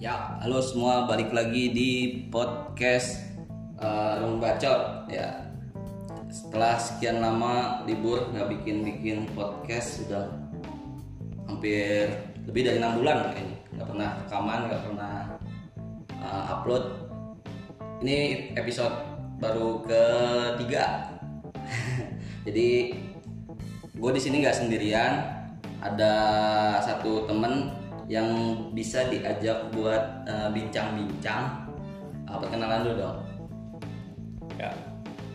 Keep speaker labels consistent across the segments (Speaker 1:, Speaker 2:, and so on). Speaker 1: Ya, halo semua, balik lagi di podcast uh, Rung Bacot ya. Setelah sekian lama libur nggak bikin-bikin podcast sudah hampir lebih dari enam bulan kayaknya nggak pernah rekaman nggak pernah uh, upload ini episode baru ketiga jadi gue di sini nggak sendirian ada satu temen yang bisa diajak buat eh, bincang-bincang Eh, perkenalan dulu dong
Speaker 2: Ya,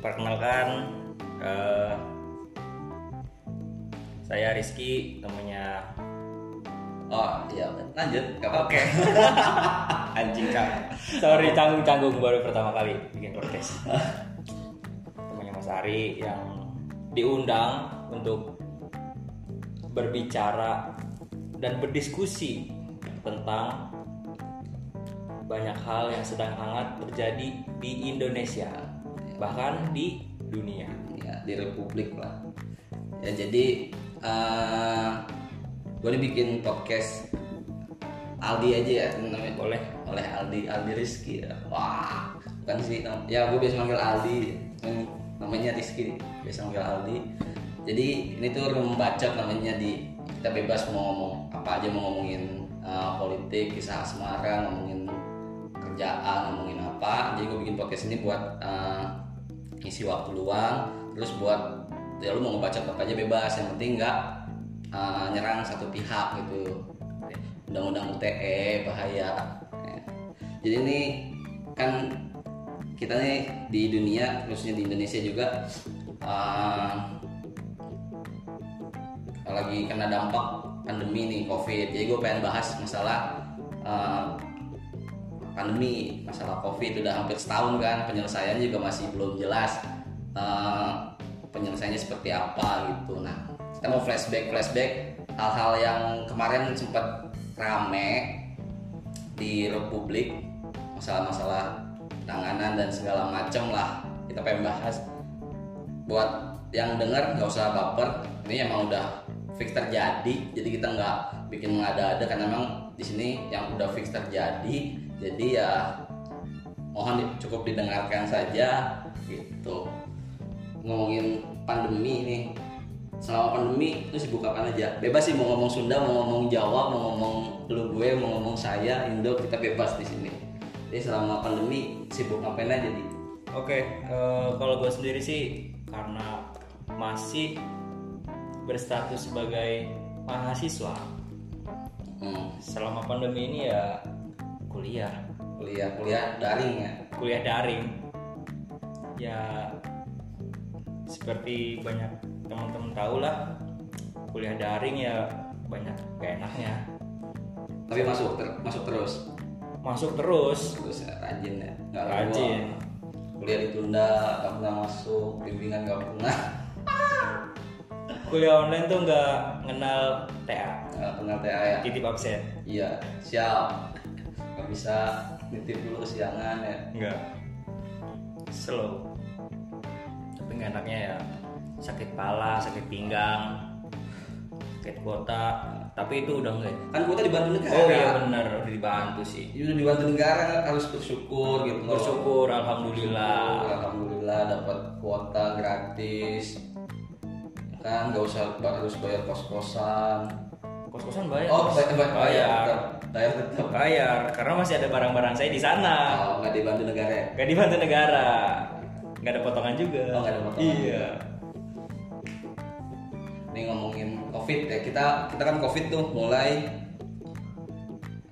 Speaker 2: perkenalkan eh, saya Rizky, temennya
Speaker 1: oh iya lanjut gak apa-apa
Speaker 2: anjing kak. Sorry canggung-canggung baru pertama kali bikin podcast. temennya Mas Ari yang diundang untuk berbicara dan berdiskusi tentang banyak hal yang sedang hangat terjadi di Indonesia bahkan di dunia.
Speaker 1: ya, di Republik lah ya jadi eh gue dibikin podcast Aldi aja ya namanya
Speaker 2: Boleh.
Speaker 1: oleh Aldi Aldi Rizky ya. wah bukan sih nam- ya gue biasa manggil Aldi Hmm, namanya Rizky biasa manggil Aldi jadi ini tuh room bacot namanya di kita bebas mau ngomong apa aja mau ngomongin uh, politik kisah asmara ngomongin kerjaan ngomongin apa jadi gue bikin podcast ini buat uh, ngisi waktu luang terus buat ya lu mau ngebaca apa aja bebas yang penting nggak uh, nyerang satu pihak gitu undang-undang UTE bahaya Ya. jadi ini kan kita nih di dunia khususnya di Indonesia juga eh, lagi kena dampak pandemi nih COVID. Jadi gue pengen bahas masalah eh, pandemi, masalah COVID udah hampir setahun kan penyelesaiannya juga masih belum jelas eh, penyelesaiannya seperti apa gitu. Nah kita mau flashback flashback hal-hal yang kemarin sempat rame di Republik masalah-masalah tanganan dan segala macam lah kita pengen bahas buat yang dengar nggak usah baper ini emang udah fix terjadi jadi kita nggak bikin mengada-ada karena emang di sini yang udah fix terjadi jadi ya mohon di- cukup didengarkan saja gitu ngomongin pandemi nih selama pandemi lu sibuk apa kan aja bebas sih mau ngomong Sunda mau ngomong Jawa mau ngomong lu gue mau ngomong saya Indo kita bebas di sini jadi selama pandemi sibuk ngapain aja di
Speaker 2: Oke, eh, kalau gue sendiri sih karena masih berstatus sebagai mahasiswa
Speaker 1: hmm,
Speaker 2: selama pandemi ini ya kuliah,
Speaker 1: kuliah kuliah daring ya
Speaker 2: kuliah daring. Ya seperti banyak teman-teman tahu lah, kuliah daring ya banyak gak enaknya.
Speaker 1: tapi masuk ter- masuk terus
Speaker 2: Masuk terus,
Speaker 1: terus ya, rajin ya nggak
Speaker 2: Rajin.
Speaker 1: lupa. kuliah ditunda nggak pernah masuk bimbingan nggak pernah
Speaker 2: kuliah online tuh nggak kenal TA,
Speaker 1: nggak pernah TA ya
Speaker 2: titip absen.
Speaker 1: iya siap nggak bisa nitip dulu kesiangan ya
Speaker 2: Enggak. Slow. Tapi nggak enaknya ya sakit pala, sakit pinggang, sakit kota. Tapi itu udah enggak.
Speaker 1: kan kuota dibantu negara
Speaker 2: Oh iya benar, udah dibantu sih.
Speaker 1: Ya udah dibantu negara kan harus bersyukur gitu loh.
Speaker 2: Bersyukur, alhamdulillah.
Speaker 1: alhamdulillah dapat kuota gratis kan nggak usah ba- harus bayar kos kosan
Speaker 2: Kos-kosan bayar.
Speaker 1: oh saya bayar bayar
Speaker 2: bayar.
Speaker 1: tetap. bayar tetap
Speaker 2: Bayar, karena masih ada barang-barang saya di sana.
Speaker 1: Oh, nggak dibantu negara ya
Speaker 2: Gak dibantu negara. Gak ada potongan juga.
Speaker 1: Oh, nggak ada potongan.
Speaker 2: Iya.
Speaker 1: ini ngomongin covid ya kita kita kan covid tuh mulai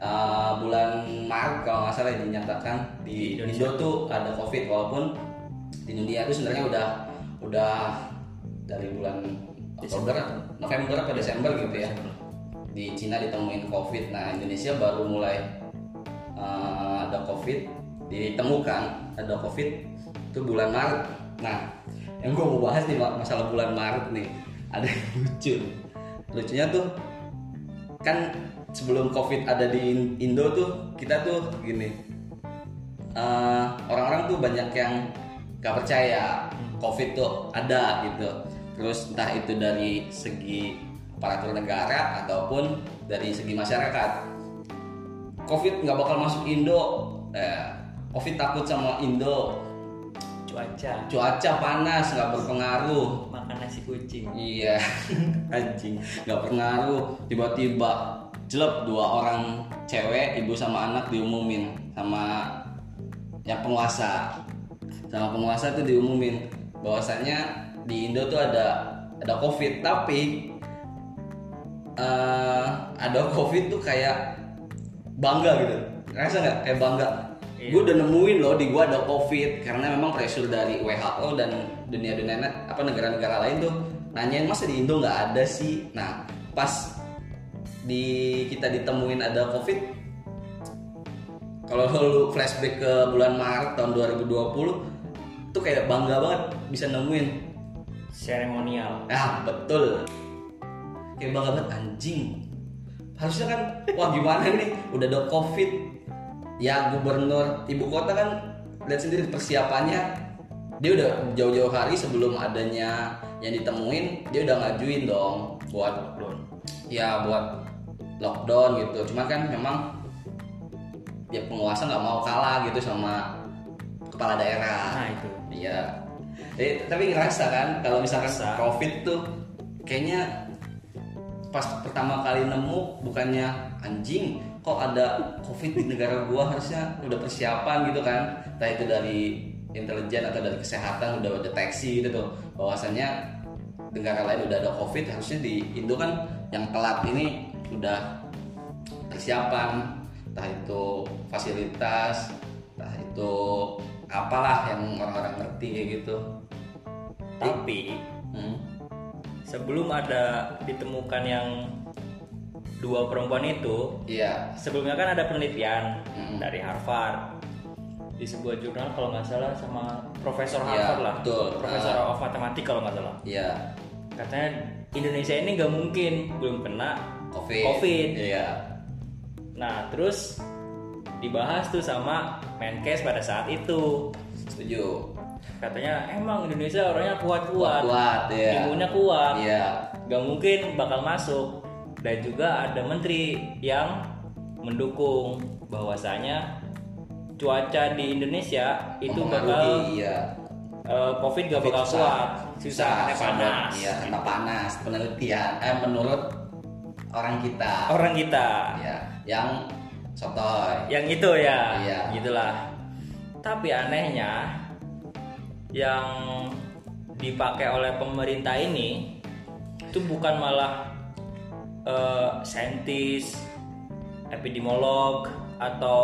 Speaker 1: uh, bulan Maret kalau nggak salah ya, dinyatakan di Indo tuh ada covid walaupun di dunia itu sebenarnya udah udah dari bulan Oktober November atau Desember gitu ya di Cina ditemuin covid nah Indonesia baru mulai uh, ada covid ditemukan ada covid itu bulan Maret nah yang gue mau bahas nih Pak, masalah bulan Maret nih ada yang lucu lucunya tuh kan sebelum covid ada di In- Indo tuh kita tuh gini eh, orang-orang tuh banyak yang gak percaya covid tuh ada gitu terus entah itu dari segi aparatur negara ataupun dari segi masyarakat covid nggak bakal masuk Indo eh, covid takut sama Indo
Speaker 2: cuaca
Speaker 1: cuaca panas nggak berpengaruh
Speaker 2: makan nasi kucing
Speaker 1: Iya, anjing nggak pengaruh. Tiba-tiba jelek dua orang cewek, ibu sama anak diumumin sama yang penguasa. Sama penguasa itu diumumin bahwasanya di Indo tuh ada ada COVID, tapi eh, ada COVID tuh kayak bangga gitu. Rasa nggak kayak bangga?
Speaker 2: Iya.
Speaker 1: Gue udah nemuin loh di gue ada COVID karena memang pressure dari WHO dan dunia dunia apa negara-negara lain tuh nanyain masa di Indo nggak ada sih. Nah pas di kita ditemuin ada COVID, kalau lu flashback ke bulan Maret tahun 2020 tuh kayak bangga banget bisa nemuin
Speaker 2: seremonial
Speaker 1: Ah betul. Kayak bangga banget anjing. Harusnya kan, wah gimana nih, udah ada covid. Ya gubernur ibu kota kan lihat sendiri persiapannya. Dia udah jauh-jauh hari sebelum adanya yang ditemuin, dia udah ngajuin dong buat
Speaker 2: lockdown
Speaker 1: ya buat lockdown gitu. Cuman kan memang ya penguasa nggak mau kalah gitu sama kepala daerah.
Speaker 2: nah itu
Speaker 1: Iya. Eh, tapi ngerasa kan kalau misalkan
Speaker 2: Ngerasa.
Speaker 1: COVID tuh kayaknya pas pertama kali nemu bukannya anjing kok ada COVID di negara gua harusnya udah persiapan gitu kan. Entah itu dari intelijen atau dari kesehatan udah deteksi gitu tuh bahwasannya negara lain udah ada COVID harusnya di Indo kan yang telat ini udah persiapan entah itu fasilitas entah itu apalah yang orang-orang ngerti kayak gitu
Speaker 2: tapi
Speaker 1: Hmm.
Speaker 2: sebelum ada ditemukan yang dua perempuan itu
Speaker 1: iya
Speaker 2: sebelumnya kan ada penelitian
Speaker 1: Mm.
Speaker 2: dari Harvard di sebuah jurnal kalau nggak salah sama Profesor
Speaker 1: Iya,
Speaker 2: Harvard lah
Speaker 1: betul. Ah.
Speaker 2: Profesor of Matematik kalau nggak salah
Speaker 1: iya
Speaker 2: katanya Indonesia ini nggak mungkin belum kena
Speaker 1: covid
Speaker 2: Covid.
Speaker 1: iya
Speaker 2: nah terus dibahas tuh sama Menkes pada saat itu
Speaker 1: setuju
Speaker 2: katanya emang Indonesia orangnya kuat-kuat
Speaker 1: kuat iya
Speaker 2: imunnya kuat
Speaker 1: iya
Speaker 2: nggak mungkin bakal masuk dan juga ada menteri yang mendukung bahwasanya cuaca di Indonesia itu bakal
Speaker 1: Mempengaruhi, iya
Speaker 2: eh, covid gak bakal kuat susah karena
Speaker 1: sama-
Speaker 2: panas
Speaker 1: iya karena panas penelitian eh menurut orang kita
Speaker 2: orang kita
Speaker 1: iya yang sotoy
Speaker 2: yang itu ya
Speaker 1: Iya.
Speaker 2: gitulah tapi anehnya yang dipakai oleh pemerintah ini itu bukan malah eh, saintis epidemiolog atau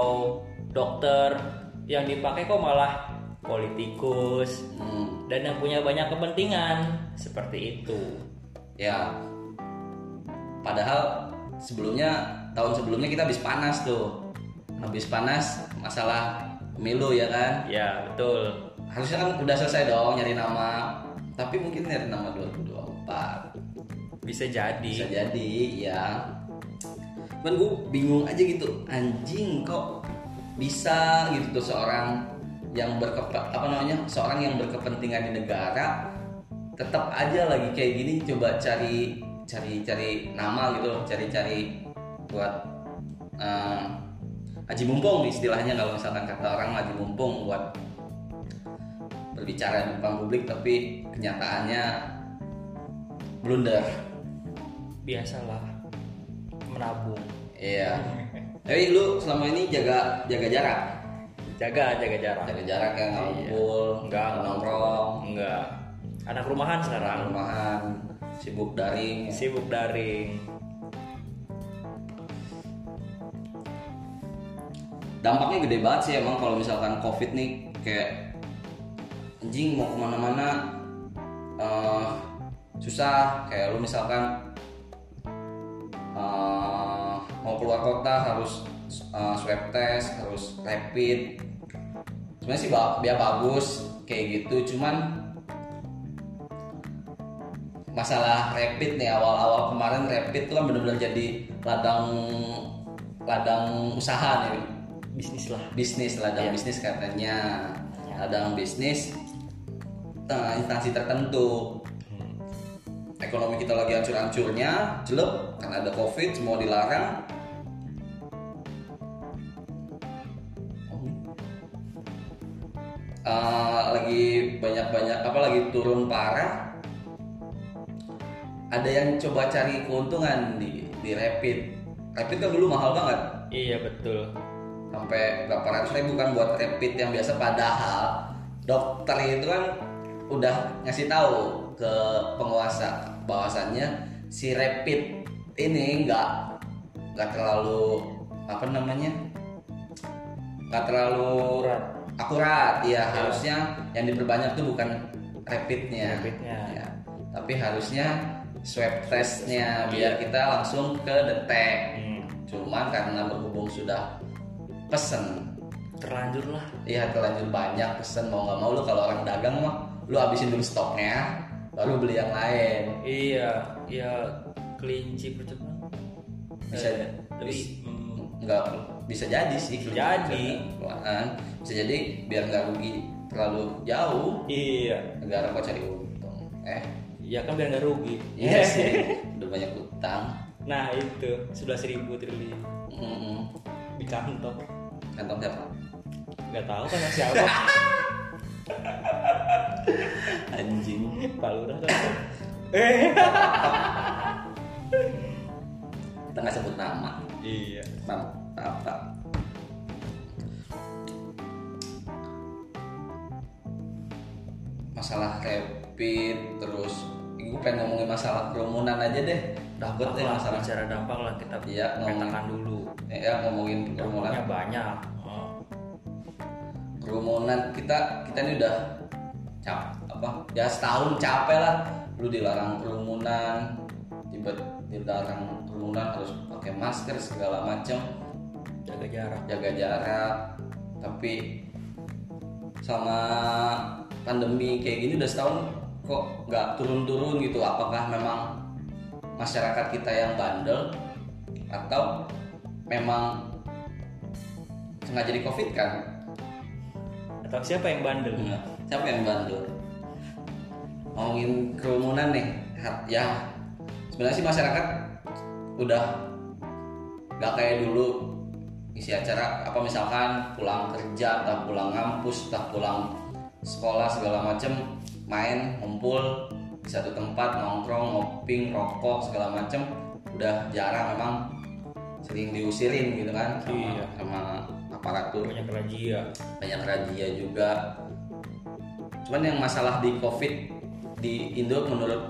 Speaker 2: dokter yang dipakai kok malah politikus
Speaker 1: Hmm.
Speaker 2: dan yang punya banyak kepentingan seperti itu
Speaker 1: ya padahal sebelumnya tahun sebelumnya kita habis panas tuh habis panas masalah pemilu ya kan
Speaker 2: ya betul
Speaker 1: harusnya kan udah selesai dong nyari nama tapi mungkin nyari nama 2024
Speaker 2: bisa jadi
Speaker 1: bisa jadi ya cuman gue bingung aja gitu anjing kok bisa gitu tuh seorang yang berkepe apa namanya seorang yang berkepentingan di negara tetap aja lagi kayak gini coba cari cari cari nama gitu loh cari cari buat eh, aji mumpung istilahnya kalau misalkan kata orang aji mumpung buat berbicara di depan publik tapi kenyataannya blunder
Speaker 2: biasalah menabung
Speaker 1: iya tapi lu selama ini jaga jaga jarak
Speaker 2: jaga jaga jarak
Speaker 1: jaga jarak ya nggak
Speaker 2: Iya.
Speaker 1: ngumpul
Speaker 2: Nggak.
Speaker 1: nongkrong
Speaker 2: enggak anak rumahan sekarang
Speaker 1: rumahan sibuk daring
Speaker 2: sibuk daring
Speaker 1: dampaknya gede banget sih emang kalau misalkan covid nih kayak anjing mau kemana-mana eh, susah kayak lu misalkan eh, mau keluar kota harus eh, swab test harus rapid sebenarnya sih ba- biar bagus kayak gitu cuman masalah rapid nih awal-awal kemarin rapid tuh kan bener-bener jadi ladang ladang usaha nih
Speaker 2: bisnis lah
Speaker 1: bisnis ladang bisnis katanya ladang bisnis eh, instansi tertentu
Speaker 2: Hmm.
Speaker 1: ekonomi kita lagi hancur-hancurnya jelek karena ada covid semua dilarang eh, lagi banyak-banyak apa lagi turun parah ada yang coba cari keuntungan di di rapid rapid kan dulu mahal banget
Speaker 2: Iya betul.
Speaker 1: sampai berapa ratus ribu kan buat rapid yang biasa padahal dokter itu kan udah ngasih tahu ke penguasa bahwasannya si rapid ini nggak nggak terlalu apa namanya nggak terlalu
Speaker 2: Akurat.
Speaker 1: akurat ya harusnya yang diperbanyak tuh bukan rapidnya
Speaker 2: Rapidnya.
Speaker 1: Ya. tapi harusnya swab testnya biar kita langsung ke detek
Speaker 2: Hmm,
Speaker 1: cuman karena berhubung sudah pesen
Speaker 2: terlanjur lah.
Speaker 1: ya terlanjur banyak pesen mau nggak mau lu kalau orang dagang mah lu habisin dulu stoknya baru beli yang lain
Speaker 2: Iya, iya kelinci percobaan.
Speaker 1: Bisa,
Speaker 2: Eh, tapi
Speaker 1: bis-
Speaker 2: hmm,
Speaker 1: nggak bisa jadi sih
Speaker 2: Bisa jadi.
Speaker 1: Pelan. bisa jadi biar nggak rugi terlalu jauh
Speaker 2: iya,
Speaker 1: negara kok cari untung eh
Speaker 2: ya kan biar nggak rugi.
Speaker 1: iya sih udah banyak utang
Speaker 2: Nah itu sebelas ribu triliun
Speaker 1: Mm-mm.
Speaker 2: di kantong.
Speaker 1: kantong siapa
Speaker 2: Gak tahu kan siapa?
Speaker 1: anjing
Speaker 2: Pak Lurah. kan? Eh.
Speaker 1: kita nggak sebut nama
Speaker 2: Iya.
Speaker 1: Maaf, maaf, maaf. Masalah rapid terus gue pengen ngomongin masalah kerumunan aja deh. Dapet deh
Speaker 2: Dampak lah,
Speaker 1: masalah.
Speaker 2: bicara dampak lah kita
Speaker 1: Iya, ngomongin.
Speaker 2: petakan dulu.
Speaker 1: Eh, Ya ngomongin kerumunan.
Speaker 2: Dampaknya banyak. Oh,
Speaker 1: Kerumunan kita kita ini udah cap apa? Ya setahun capek lah. Lu dilarang kerumunan, tiba dilarang kerumunan harus pakai masker segala macem.
Speaker 2: jaga jarak.
Speaker 1: jaga jarak tapi sama pandemi kayak gini udah setahun kok nggak turun-turun gitu apakah memang masyarakat kita yang bandel atau memang sengaja di covid kan
Speaker 2: Atau siapa yang bandel?
Speaker 1: Hmm. Iya. siapa yang bandel ngomongin kerumunan nih ha- ya sebenarnya sih masyarakat udah nggak kayak dulu isi acara apa misalkan pulang kerja atau pulang kampus atau pulang sekolah segala macem main ngumpul di satu tempat nongkrong ngoping rokok segala macem udah jarang memang sering diusirin gitu kan sama,
Speaker 2: Iya.
Speaker 1: sama aparatur
Speaker 2: Banyak razia.
Speaker 1: banyak razia juga cuman yang masalah di covid di Indo menurut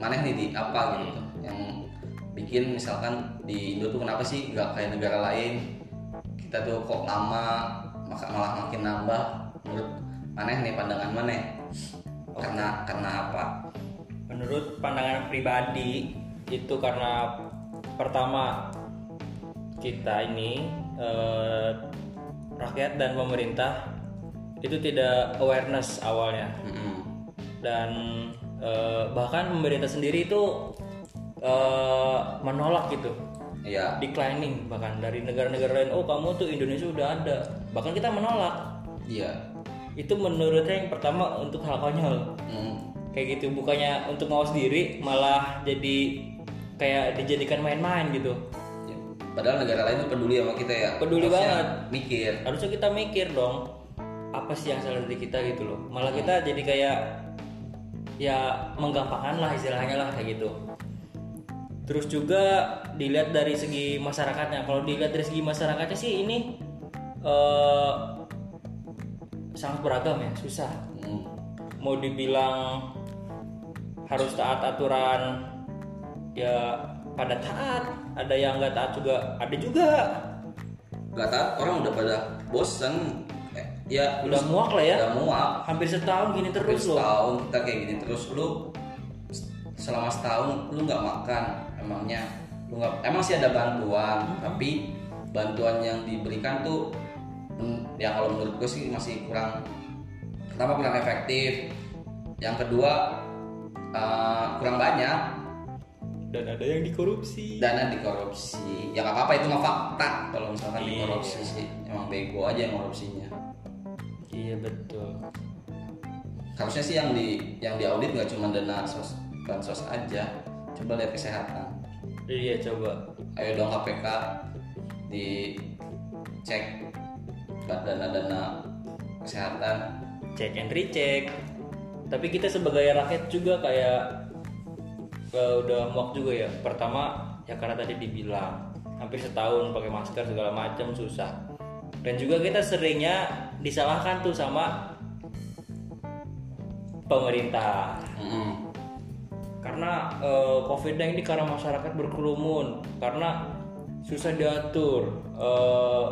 Speaker 1: maneh nih di apa gitu yang bikin misalkan di Indo tuh kenapa sih nggak kayak negara lain kita tuh kok lama maka malah makin nambah menurut maneh nih pandangan maneh karena karena apa
Speaker 2: Menurut pandangan pribadi itu karena pertama kita ini eh, rakyat dan pemerintah itu tidak awareness awalnya
Speaker 1: Mm-mm.
Speaker 2: dan eh, bahkan pemerintah sendiri itu eh, menolak gitu
Speaker 1: iya
Speaker 2: declining bahkan dari negara-negara lain oh kamu tuh Indonesia udah ada bahkan kita menolak
Speaker 1: iya
Speaker 2: itu menurutnya yang pertama untuk hal konyol
Speaker 1: Mm.
Speaker 2: kayak gitu bukannya untuk ngawas diri malah jadi kayak dijadikan main-main gitu
Speaker 1: Ya. padahal negara lain tuh peduli sama kita ya
Speaker 2: Peduli banget.
Speaker 1: mikir
Speaker 2: harusnya kita mikir dong apa sih yang salah dari kita gitu loh malah kita jadi kayak ya menggampangkan lah istilahnya lah kayak gitu terus juga dilihat dari segi masyarakatnya kalau dilihat dari segi masyarakatnya sih ini eh, sangat beragam ya susah
Speaker 1: Mm.
Speaker 2: mau dibilang harus taat aturan ya pada taat ada yang nggak taat juga ada juga
Speaker 1: nggak taat orang udah pada bosen Eh, ya
Speaker 2: udah muak lah ya
Speaker 1: udah muak
Speaker 2: hampir setahun gini
Speaker 1: terus
Speaker 2: terus loh
Speaker 1: setahun kita kayak gini terus lu s- selama setahun lu nggak makan emangnya lu nggak emang sih ada
Speaker 2: Hmm.
Speaker 1: bantuan tapi bantuan yang diberikan tuh hmm, ya kalau menurut gue sih masih kurang pertama kurang efektif yang kedua eh, kurang banyak
Speaker 2: dan ada yang dikorupsi
Speaker 1: dana dikorupsi ya nggak apa-apa itu mah fakta kalau misalkan
Speaker 2: Iya.
Speaker 1: dikorupsi sih emang bego aja yang korupsinya
Speaker 2: iya betul
Speaker 1: harusnya sih yang di yang diaudit nggak cuma dana sos bansos aja coba lihat kesehatan
Speaker 2: iya coba
Speaker 1: ayo dong KPK dicek dana dana kesehatan
Speaker 2: cek and recheck tapi kita sebagai rakyat juga kayak eh, udah muak juga ya pertama ya karena tadi dibilang hampir setahun pakai masker segala macam susah dan juga kita seringnya disalahkan tuh sama pemerintah
Speaker 1: Mm-mm.
Speaker 2: karena eh, COVID-19 ini karena masyarakat berkerumun, karena susah diatur, eh,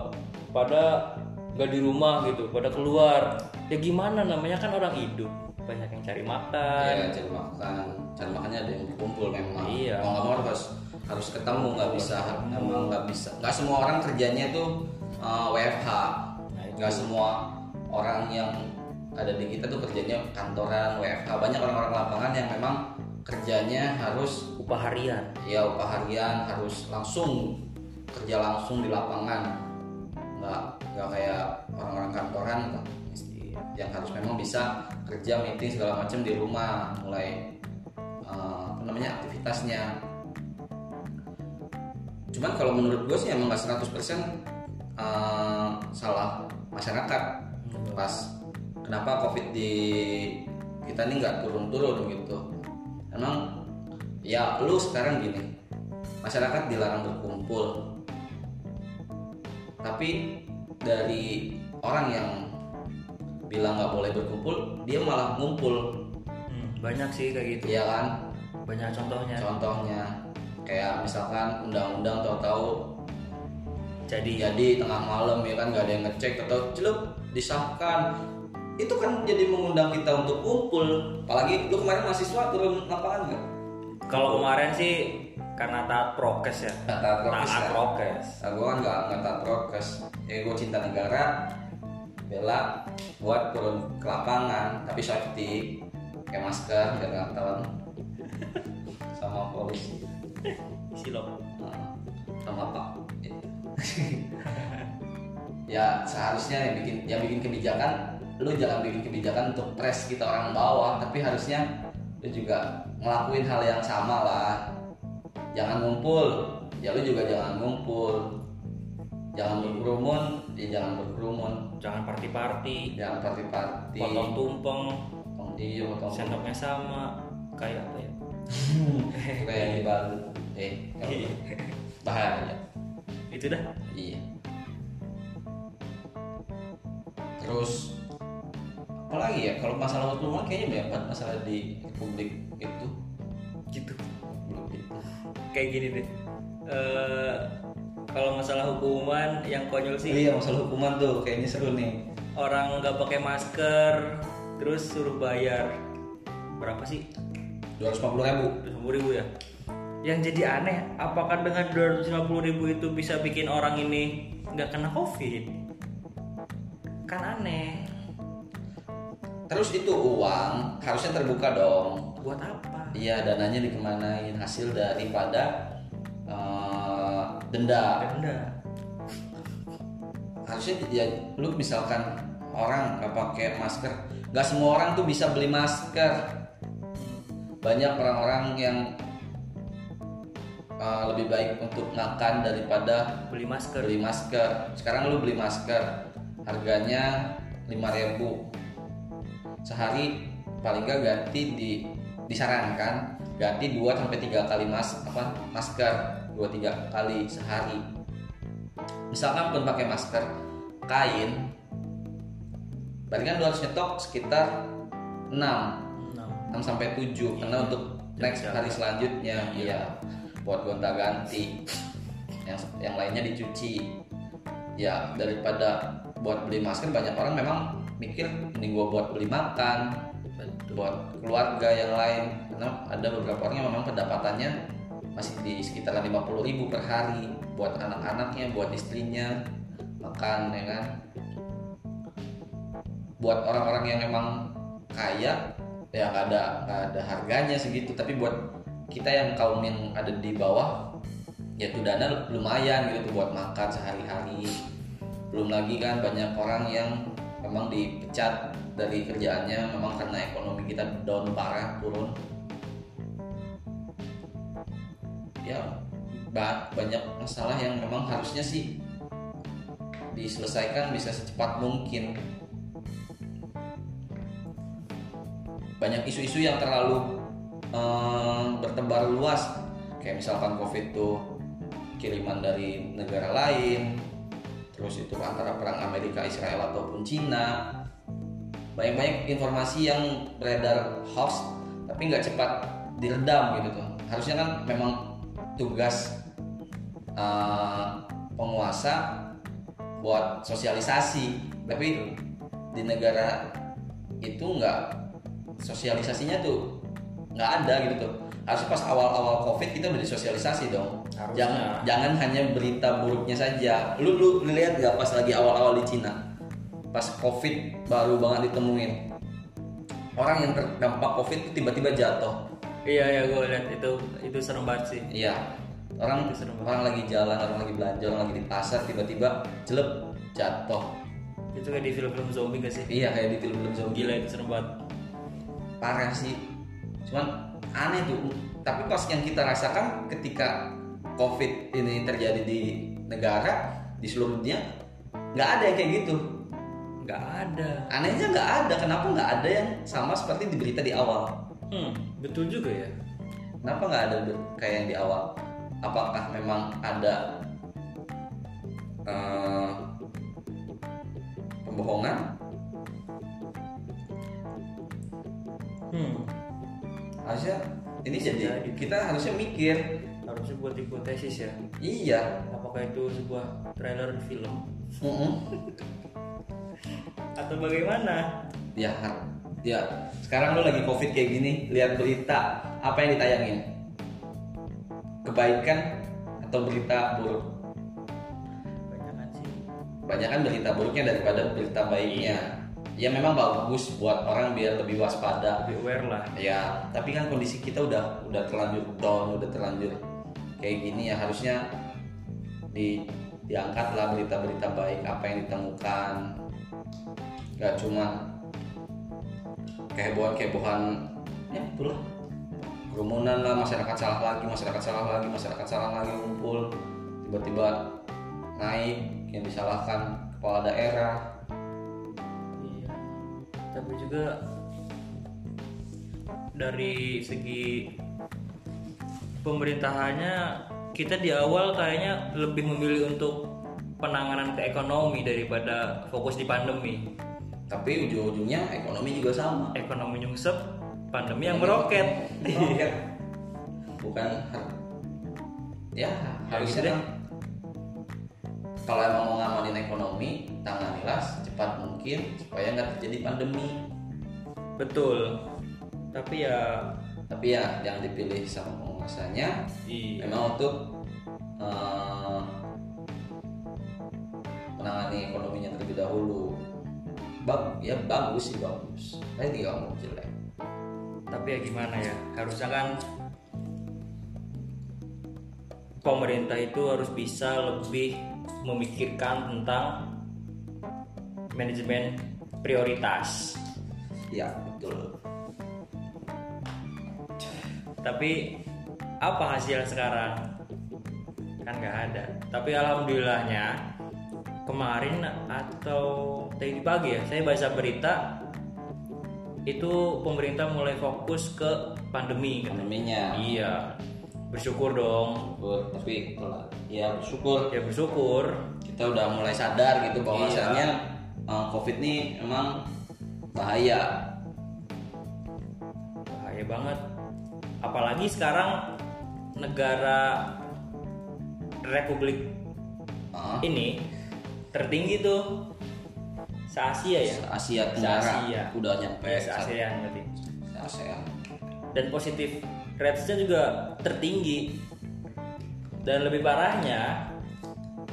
Speaker 2: pada nggak di rumah gitu, pada keluar. Ya gimana namanya kan orang hidup, banyak yang cari makan.
Speaker 1: Iya, cari makan, cari makannya ada yang berkumpul memang.
Speaker 2: Iya.
Speaker 1: Mau nggak mau harus harus ketemu, nggak bisa, emang nggak bisa. Nggak semua orang kerjanya itu eh, WFH.
Speaker 2: Nah, itu.
Speaker 1: Nggak semua orang yang ada di kita tuh kerjanya kantoran WFH. Banyak orang-orang lapangan yang memang kerjanya harus
Speaker 2: Upah harian.
Speaker 1: ya upah harian harus langsung kerja langsung di lapangan nggak nggak kayak orang-orang kantoran yang harus memang bisa kerja meeting segala macam di rumah mulai eh, apa namanya aktivitasnya cuman kalau menurut gue sih emang nggak 100% eh, salah masyarakat pas kenapa covid di kita ini nggak turun-turun gitu emang ya lu sekarang gini masyarakat dilarang berkumpul tapi dari orang yang bilang nggak boleh berkumpul dia malah ngumpul
Speaker 2: Hmm, banyak sih kayak gitu.
Speaker 1: ya kan
Speaker 2: Banyak contohnya.
Speaker 1: contohnya kayak misalkan undang-undang tahu-tahu
Speaker 2: Jadi
Speaker 1: jadi Iya, tengah malam ya kan nggak ada yang ngecek atau celup disahkan itu kan jadi mengundang kita untuk kumpul apalagi lu kemarin mahasiswa turun lapangan nggak
Speaker 2: kalau kemarin sih karena taat prokes ya.
Speaker 1: Taat prokes
Speaker 2: Taat
Speaker 1: ya.
Speaker 2: prokes.
Speaker 1: gue kan nggak nggak taat prokes ya gue cinta negara bela buat turun ke lapangan tapi safety pakai masker nggak ngatalan sama polisi
Speaker 2: Isi lo.
Speaker 1: sama pak ya seharusnya yang bikin yang bikin kebijakan lu jangan bikin kebijakan untuk press kita orang bawah tapi harusnya lu juga ngelakuin hal yang sama lah jangan ngumpul ya lu juga jangan ngumpul jangan berkerumun ya jangan berkerumun
Speaker 2: Jangan party-party.
Speaker 1: jangan party-party
Speaker 2: Potong tumpeng.
Speaker 1: potong iya potong
Speaker 2: Sendoknya sama. Kayak apa ya?
Speaker 1: kayak di Bali eh
Speaker 2: Iya.
Speaker 1: bahaya
Speaker 2: itu dah
Speaker 1: Iya. Terus apalagi ya kalau masalah waktu rumah kayaknya banyak banget masalah di publik itu
Speaker 2: gitu
Speaker 1: belum itu.
Speaker 2: kayak gini deh Eh, kalau masalah hukuman yang
Speaker 1: Oh
Speaker 2: konyol sih
Speaker 1: iya masalah hukuman tuh kayaknya seru nih.
Speaker 2: orang nggak pakai masker terus suruh bayar berapa sih
Speaker 1: Dua ratus ribu.
Speaker 2: 250 ribu ya yang jadi aneh apakah dengan 250 ribu itu bisa bikin orang ini nggak kena covid kan aneh
Speaker 1: Terus itu uang harusnya terbuka dong.
Speaker 2: buat apa
Speaker 1: Iya dananya dikemanain hasil daripada eh, denda.
Speaker 2: denda
Speaker 1: Harusnya ya lu misalkan orang nggak pakai masker, nggak semua orang tuh bisa beli masker. banyak orang-orang yang uh, lebih baik untuk makan daripada
Speaker 2: beli masker
Speaker 1: beli masker. Sekarang lu beli masker, harganya 5.000. Sehari paling nggak ganti di disarankan ganti 2 sampai 3 kali mas apa masker 2 3 kali sehari. Misalkan pun pakai masker kain berarti kan lu harus nyetok sekitar 6
Speaker 2: Nah,
Speaker 1: 6 sampai 7 karena untuk next hari selanjutnya iya buat gonta-ganti yang yang lainnya dicuci ya daripada buat beli masker banyak orang memang mikir mending gua buat beli makan buat keluarga yang lain karena ada beberapa orang yang memang pendapatannya masih di sekitar 50.000 per hari buat anak-anaknya buat istrinya makan ya kan buat orang-orang yang memang kaya ya nggak ada nggak ada harganya segitu tapi buat kita yang kaum yang ada di bawah ya tuh dana lumayan gitu tuh buat makan sehari-hari belum lagi kan banyak orang yang memang dipecat dari kerjaannya memang karena ekonomi kita down parah turun ya ba- banyak masalah yang memang harusnya sih diselesaikan bisa secepat mungkin banyak isu-isu yang terlalu eh, bertebar luas kayak misalkan covid tuh kiriman dari negara lain terus itu antara perang Amerika Israel ataupun Cina banyak-banyak informasi yang beredar hoax tapi nggak cepat diredam gitu tuh harusnya kan memang tugas eh, penguasa buat sosialisasi tapi di negara itu nggak sosialisasinya tuh nggak ada gitu tuh harusnya pas awal-awal covid kita udah disosialisasi dong
Speaker 2: Harusnya.
Speaker 1: jangan jangan hanya berita buruknya saja lu lu, lu lihat nggak pas lagi awal-awal di Cina pas covid baru banget ditemuin orang yang terdampak covid tuh tiba-tiba jatuh
Speaker 2: iya ya gue lihat itu itu serem banget sih
Speaker 1: Iya. Orang
Speaker 2: Itu serem
Speaker 1: orang lagi jalan, orang lagi belanja, orang lagi di pasar tiba-tiba jelek jatuh.
Speaker 2: itu kayak di film-film zombie gak sih
Speaker 1: Iya kayak di film-film zombie
Speaker 2: gila itu serem banget
Speaker 1: parah sih. Cuman aneh tuh. Tapi pas yang kita rasakan ketika COVID ini terjadi di negara di seluruh dunia nggak ada yang kayak gitu.
Speaker 2: nggak ada
Speaker 1: Anehnya nggak ada. Kenapa nggak ada yang sama seperti di berita di awal?
Speaker 2: hmm betul juga ya
Speaker 1: Kenapa nggak ada ber- kayak yang di awal? Apakah memang ada eh, pembohongan?
Speaker 2: hmm
Speaker 1: Harusnya ini
Speaker 2: Bisa
Speaker 1: jadi
Speaker 2: jadi.
Speaker 1: kita harusnya mikir.
Speaker 2: harusnya buat hipotesis ya
Speaker 1: Iya.
Speaker 2: apakah itu sebuah trailer film
Speaker 1: Mm-mm.
Speaker 2: atau bagaimana
Speaker 1: Ya, har- ya. Sekarang lo lagi covid kayak gini, lihat berita apa yang ditayangin? Kebaikan atau berita buruk?
Speaker 2: banyak sih
Speaker 1: banyak kan berita buruknya daripada berita baiknya ya memang bagus buat orang biar lebih waspada
Speaker 2: lebih aware lah
Speaker 1: ya tapi kan kondisi kita udah udah terlanjur down udah terlanjur kayak gini ya harusnya di diangkatlah berita-berita baik apa yang ditemukan gak cuma kehebohan-kehebohan ya itulah kerumunan lah masyarakat salah lagi masyarakat salah lagi masyarakat salah lagi ngumpul tiba-tiba naik yang disalahkan kepala daerah
Speaker 2: Iya. Tapi juga dari segi pemerintahannya kita di awal kayaknya lebih memilih untuk penanganan ke ekonomi daripada fokus di pandemi.
Speaker 1: tapi ujung-ujungnya ekonomi juga sama
Speaker 2: Ekonomi nyungsep, pandemi yang meroket.
Speaker 1: Meroket. bukan ya harusnya
Speaker 2: gitu deh.
Speaker 1: kan kalau emang mau ngamanin ekonomi tanganilah secepat mungkin supaya nggak terjadi pandemi
Speaker 2: Betul. Tapi ya
Speaker 1: tapi ya yang dipilih sama penguasanya
Speaker 2: iya.
Speaker 1: memang untuk eh, menangani ekonominya terlebih dahulu Bag- ya bagus sih bagus saya tidak mau jelek
Speaker 2: tapi ya gimana ya harusnya kan pemerintah itu harus bisa lebih memikirkan tentang manajemen prioritas
Speaker 1: ya betul
Speaker 2: tapi apa hasil sekarang kan nggak ada tapi alhamdulillahnya kemarin atau tadi pagi ya saya baca berita itu pemerintah mulai fokus ke pandemi katanya.
Speaker 1: pandeminya
Speaker 2: Iya, bersyukur dong.
Speaker 1: Syukur, tapi itulah ya bersyukur
Speaker 2: Ya bersyukur.
Speaker 1: kita udah mulai sadar gitu bahwa
Speaker 2: Iya.
Speaker 1: misalnya uh, covid ini emang bahaya
Speaker 2: Bahaya banget. Apalagi sekarang negara Republik
Speaker 1: Uh,
Speaker 2: ini tertinggi tuh se Asia ya.
Speaker 1: Asia Tenggara
Speaker 2: Se-Asia.
Speaker 1: udah nyampe
Speaker 2: Eh, se ASEAN berarti.
Speaker 1: se- ASEAN
Speaker 2: Dan positif rates-nya juga tertinggi. Dan lebih parahnya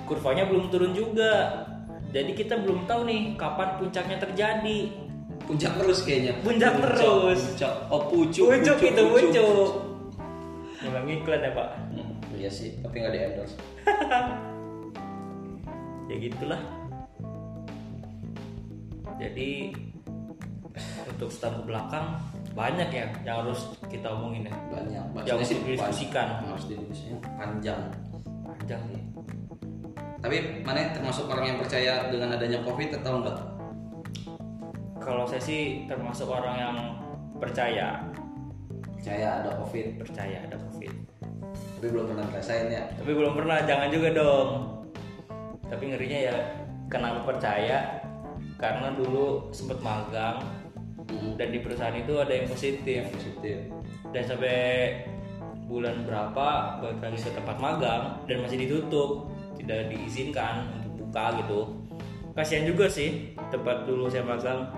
Speaker 2: kurvanya belum turun juga. Jadi kita belum tahu nih kapan puncaknya terjadi.
Speaker 1: puncak terus kayaknya
Speaker 2: Puncak terus.
Speaker 1: puncak oh pucuk
Speaker 2: Pucuk itu pucuk. Memang gitu, iklan ya pak.
Speaker 1: Hmm, iya sih tapi nggak di endorse
Speaker 2: Ya gitulah. Jadi untuk start ke belakang banyak ya yang harus kita omongin ya.
Speaker 1: banyak
Speaker 2: Yang
Speaker 1: maksudnya
Speaker 2: harus
Speaker 1: sih
Speaker 2: didiskusikan.
Speaker 1: pan- harus didiskusikan panjang
Speaker 2: Panjang sih.
Speaker 1: tapi mana termasuk orang yang percaya dengan adanya covid atau enggak
Speaker 2: Kalau saya sih termasuk orang yang percaya
Speaker 1: percaya ada covid
Speaker 2: percaya ada covid
Speaker 1: tapi belum pernah ngerasain ya
Speaker 2: tapi belum pernah jangan juga dong tapi ngerinya ya kenapa percaya karena dulu sempet magang
Speaker 1: Mhm.
Speaker 2: dan di perusahaan itu ada yang positif
Speaker 1: positif
Speaker 2: dan sampai bulan berapa balik lagi ke tempat magang dan masih ditutup tidak diizinkan untuk buka gitu kasihan juga sih tempat dulu saya magang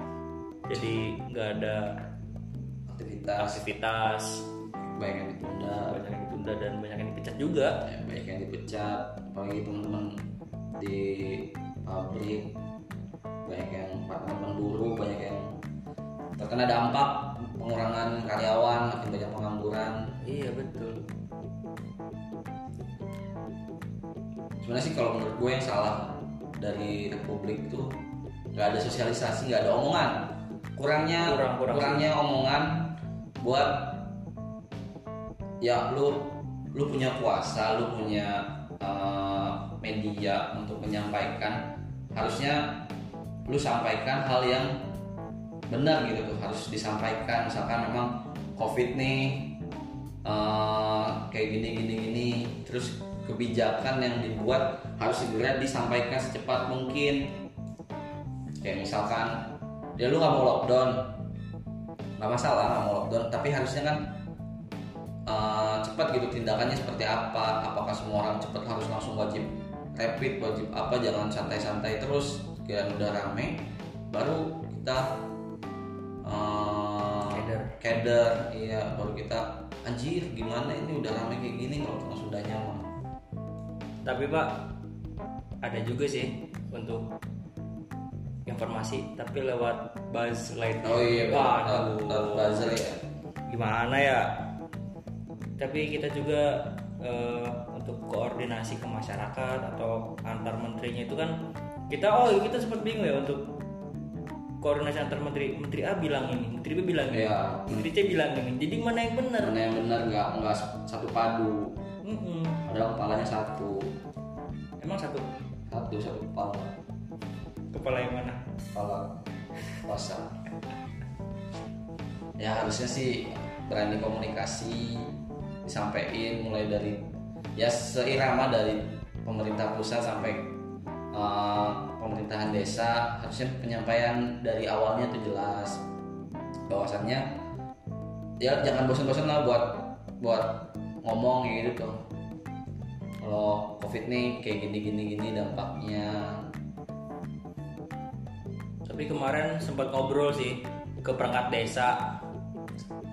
Speaker 2: jadi nggak ada
Speaker 1: aktivitas
Speaker 2: aktivitas
Speaker 1: banyak yang ditunda
Speaker 2: banyak yang ditunda dan banyak yang dipecat juga
Speaker 1: ya, banyak yang dipecat apalagi teman-teman di pabrik banyak yang teman buruh banyak yang terkena dampak pengurangan karyawan makin banyak pengangguran
Speaker 2: iya betul
Speaker 1: sebenarnya sih kalau menurut gue yang salah dari republik tuh nggak ada sosialisasi nggak ada omongan kurangnya
Speaker 2: Kurang, kurang.
Speaker 1: kurangnya omongan buat ya lu lu punya kuasa lu punya eh, media untuk menyampaikan harusnya lu sampaikan hal yang benar gitu tuh harus disampaikan misalkan memang covid nih eh, kayak gini gini gini terus kebijakan yang dibuat harus segera disampaikan secepat mungkin kayak misalkan ya lu nggak mau lockdown nggak masalah nggak mau lockdown tapi harusnya kan eh, cepat gitu tindakannya seperti apa apakah semua orang cepat harus langsung wajib rapid wajib apa jangan santai-santai terus kalian udah rame baru kita eh,
Speaker 2: Keder.
Speaker 1: keder iya baru kita anjir gimana ini udah rame kayak gini kalau langsung udah nyaman
Speaker 2: tapi pak ada juga sih untuk informasi tapi lewat buzz light
Speaker 1: oh iya
Speaker 2: Wah,
Speaker 1: betul,
Speaker 2: aduh.
Speaker 1: betul, buzzer ya
Speaker 2: gimana ya tapi kita juga eh, untuk koordinasi ke masyarakat atau antar menterinya itu kan kita oh kita sempat bingung ya untuk koordinasi antar menteri menteri A bilang ini menteri B bilang ini
Speaker 1: Iya.
Speaker 2: menteri C bilang ini jadi mana yang benar
Speaker 1: mana yang benar nggak nggak satu padu
Speaker 2: Mm-mm.
Speaker 1: padahal kepalanya satu
Speaker 2: emang satu
Speaker 1: satu satu kepala
Speaker 2: kepala yang mana
Speaker 1: kepala puasa ya harusnya sih berani komunikasi disampaikan mulai dari ya seirama dari pemerintah pusat sampai eh, pemerintahan desa harusnya penyampaian dari awalnya itu jelas bahwasannya ya jangan bosan-bosan lah buat buat ngomong kayak gitu tuh kalau covid nih kayak gini gini gini dampaknya
Speaker 2: tapi kemarin sempat ngobrol sih ke perangkat desa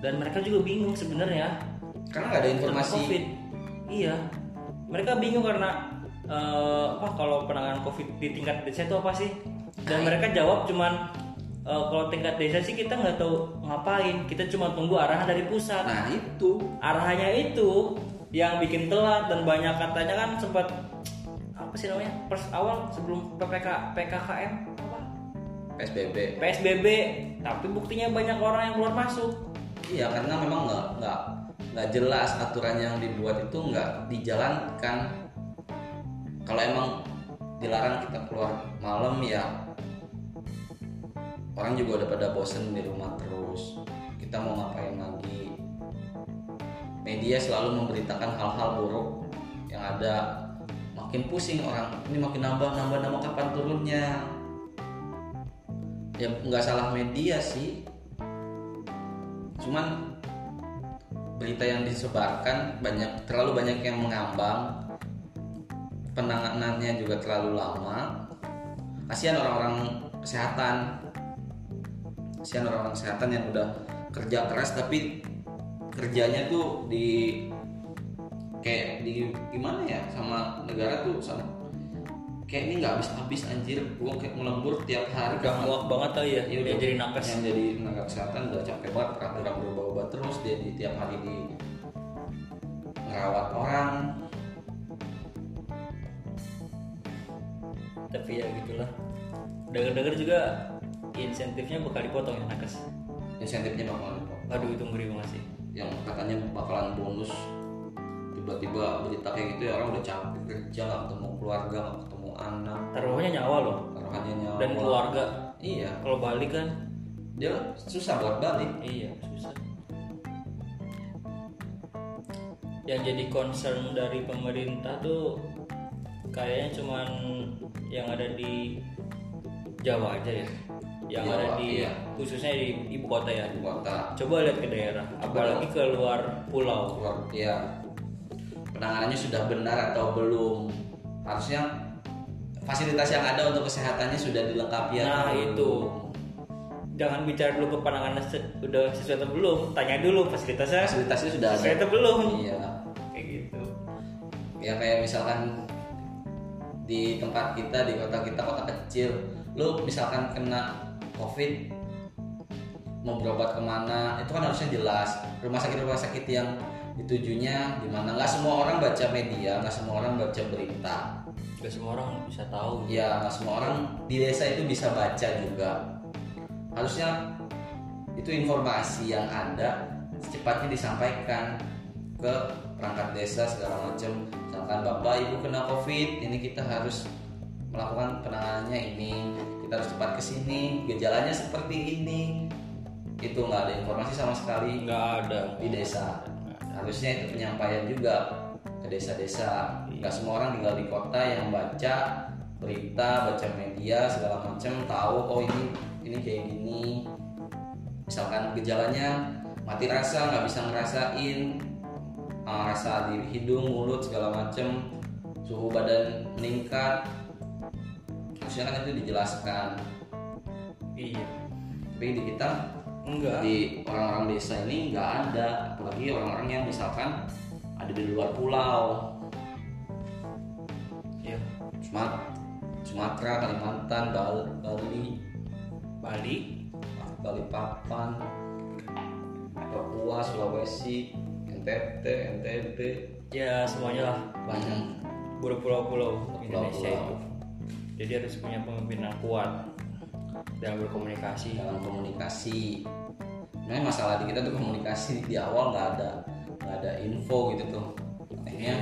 Speaker 2: dan mereka juga bingung sebenarnya
Speaker 1: karena nggak ada informasi
Speaker 2: COVID. Iya. Mereka bingung karena eh, apa kalau penanganan COVID di tingkat desa itu apa sih? Dan mereka jawab cuman eh, kalau tingkat desa sih kita nggak tahu ngapain. Kita cuma tunggu arahan dari pusat.
Speaker 1: Nah itu
Speaker 2: Arahannya itu yang bikin telat dan banyak katanya kan sempat apa sih namanya? Pers awal sebelum PPK PKKM apa?
Speaker 1: PSBB.
Speaker 2: PSBB. Tapi buktinya banyak orang yang keluar masuk.
Speaker 1: Iya karena memang nggak nggak nggak jelas aturan yang dibuat itu nggak dijalankan. Kalau emang dilarang kita keluar malam ya orang juga udah pada bosen di rumah terus. Kita mau ngapain lagi? Media selalu memberitakan hal-hal buruk yang ada makin pusing orang ini makin nambah nambah nambah kapan turunnya ya nggak salah media sih cuman berita yang disebarkan banyak terlalu banyak yang mengambang penanganannya juga terlalu lama kasihan orang-orang kesehatan kasihan orang-orang kesehatan yang udah kerja keras tapi kerjanya tuh di kayak di gimana ya sama negara tuh sama kayak ini nggak habis-habis anjir gua kayak melembur tiap hari
Speaker 2: Udah muak banget kali ya,
Speaker 1: Iya,
Speaker 2: dia
Speaker 1: udah.
Speaker 2: jadi nakes.
Speaker 1: yang jadi tenaga kesehatan udah capek banget peraturan berubah-ubah terus dia di tiap hari di ngerawat orang
Speaker 2: tapi ya gitulah dengar-dengar juga insentifnya bakal dipotong ya nakes
Speaker 1: insentifnya bakalan apa?
Speaker 2: aduh itu ngeri banget sih
Speaker 1: yang katanya bakalan bonus tiba-tiba berita kayak gitu ya orang udah capek kerja nggak ketemu keluarga nggak ketemu anak
Speaker 2: taruhannya nyawa loh
Speaker 1: taruhannya nyawa
Speaker 2: dan keluarga
Speaker 1: iya
Speaker 2: kalau balik kan
Speaker 1: dia susah buat balik
Speaker 2: Iya, susah. Yang jadi concern dari pemerintah tuh kayaknya cuman yang ada di Jawa aja ya. Yang
Speaker 1: Jawa,
Speaker 2: ada di
Speaker 1: iya.
Speaker 2: khususnya di ibu kota ya.
Speaker 1: ibu kota
Speaker 2: Coba lihat ke daerah, apalagi ke luar pulau.
Speaker 1: keluar ya penanganannya sudah benar atau belum harusnya fasilitas yang ada untuk kesehatannya sudah dilengkapi atau
Speaker 2: Nah,
Speaker 1: belum?
Speaker 2: itu. Jangan bicara dulu ke pandangan udah sesuai atau belum, tanya dulu fasilitasnya
Speaker 1: fasilitasnya sudah ada
Speaker 2: sesuai atau belum.
Speaker 1: iya
Speaker 2: Kayak gitu.
Speaker 1: ya kayak misalkan di tempat kita di kota kita kota kecil lu misalkan kena covid mau berobat kemana itu kan harusnya jelas rumah sakit rumah sakit yang ditujunya gimana nggak semua orang baca media nggak semua orang baca berita
Speaker 2: Gak semua orang bisa tahu.
Speaker 1: ya nggak semua orang di desa itu bisa baca juga harusnya itu informasi yang ada secepatnya disampaikan ke perangkat desa segala macam misalkan bapak ibu kena covid ini kita harus melakukan penanganannya ini kita harus cepat ke sini gejalanya seperti ini itu nggak ada informasi sama sekali
Speaker 2: Nggak ada.
Speaker 1: di desa harusnya itu penyampaian juga ke desa-desa nggak semua orang tinggal di kota yang baca berita baca media segala macam tahu oh ini ini kayak gini misalkan gejalanya mati rasa nggak bisa ngerasain eh, rasa di hidung mulut segala macam suhu badan meningkat harusnya kan itu dijelaskan
Speaker 2: Iya.
Speaker 1: tapi di kita
Speaker 2: Enggak.
Speaker 1: di orang-orang desa ini nggak ada apalagi orang-orang yang misalkan ada di luar pulau
Speaker 2: Iya.
Speaker 1: Sumat- Sumatera Kalimantan Bal- Bali
Speaker 2: Bali.
Speaker 1: Balikpapan Papua Sulawesi NTT NTB
Speaker 2: Ya semuanya lah
Speaker 1: banyak
Speaker 2: buru pulau-pulau Indonesia itu.
Speaker 1: Pulau-pulau.
Speaker 2: Jadi harus punya pemimpin yang kuat dalam berkomunikasi.
Speaker 1: dalam komunikasi sebenarnya masalah di kita tuh komunikasi di awal nggak ada nggak ada info gitu tuh akhirnya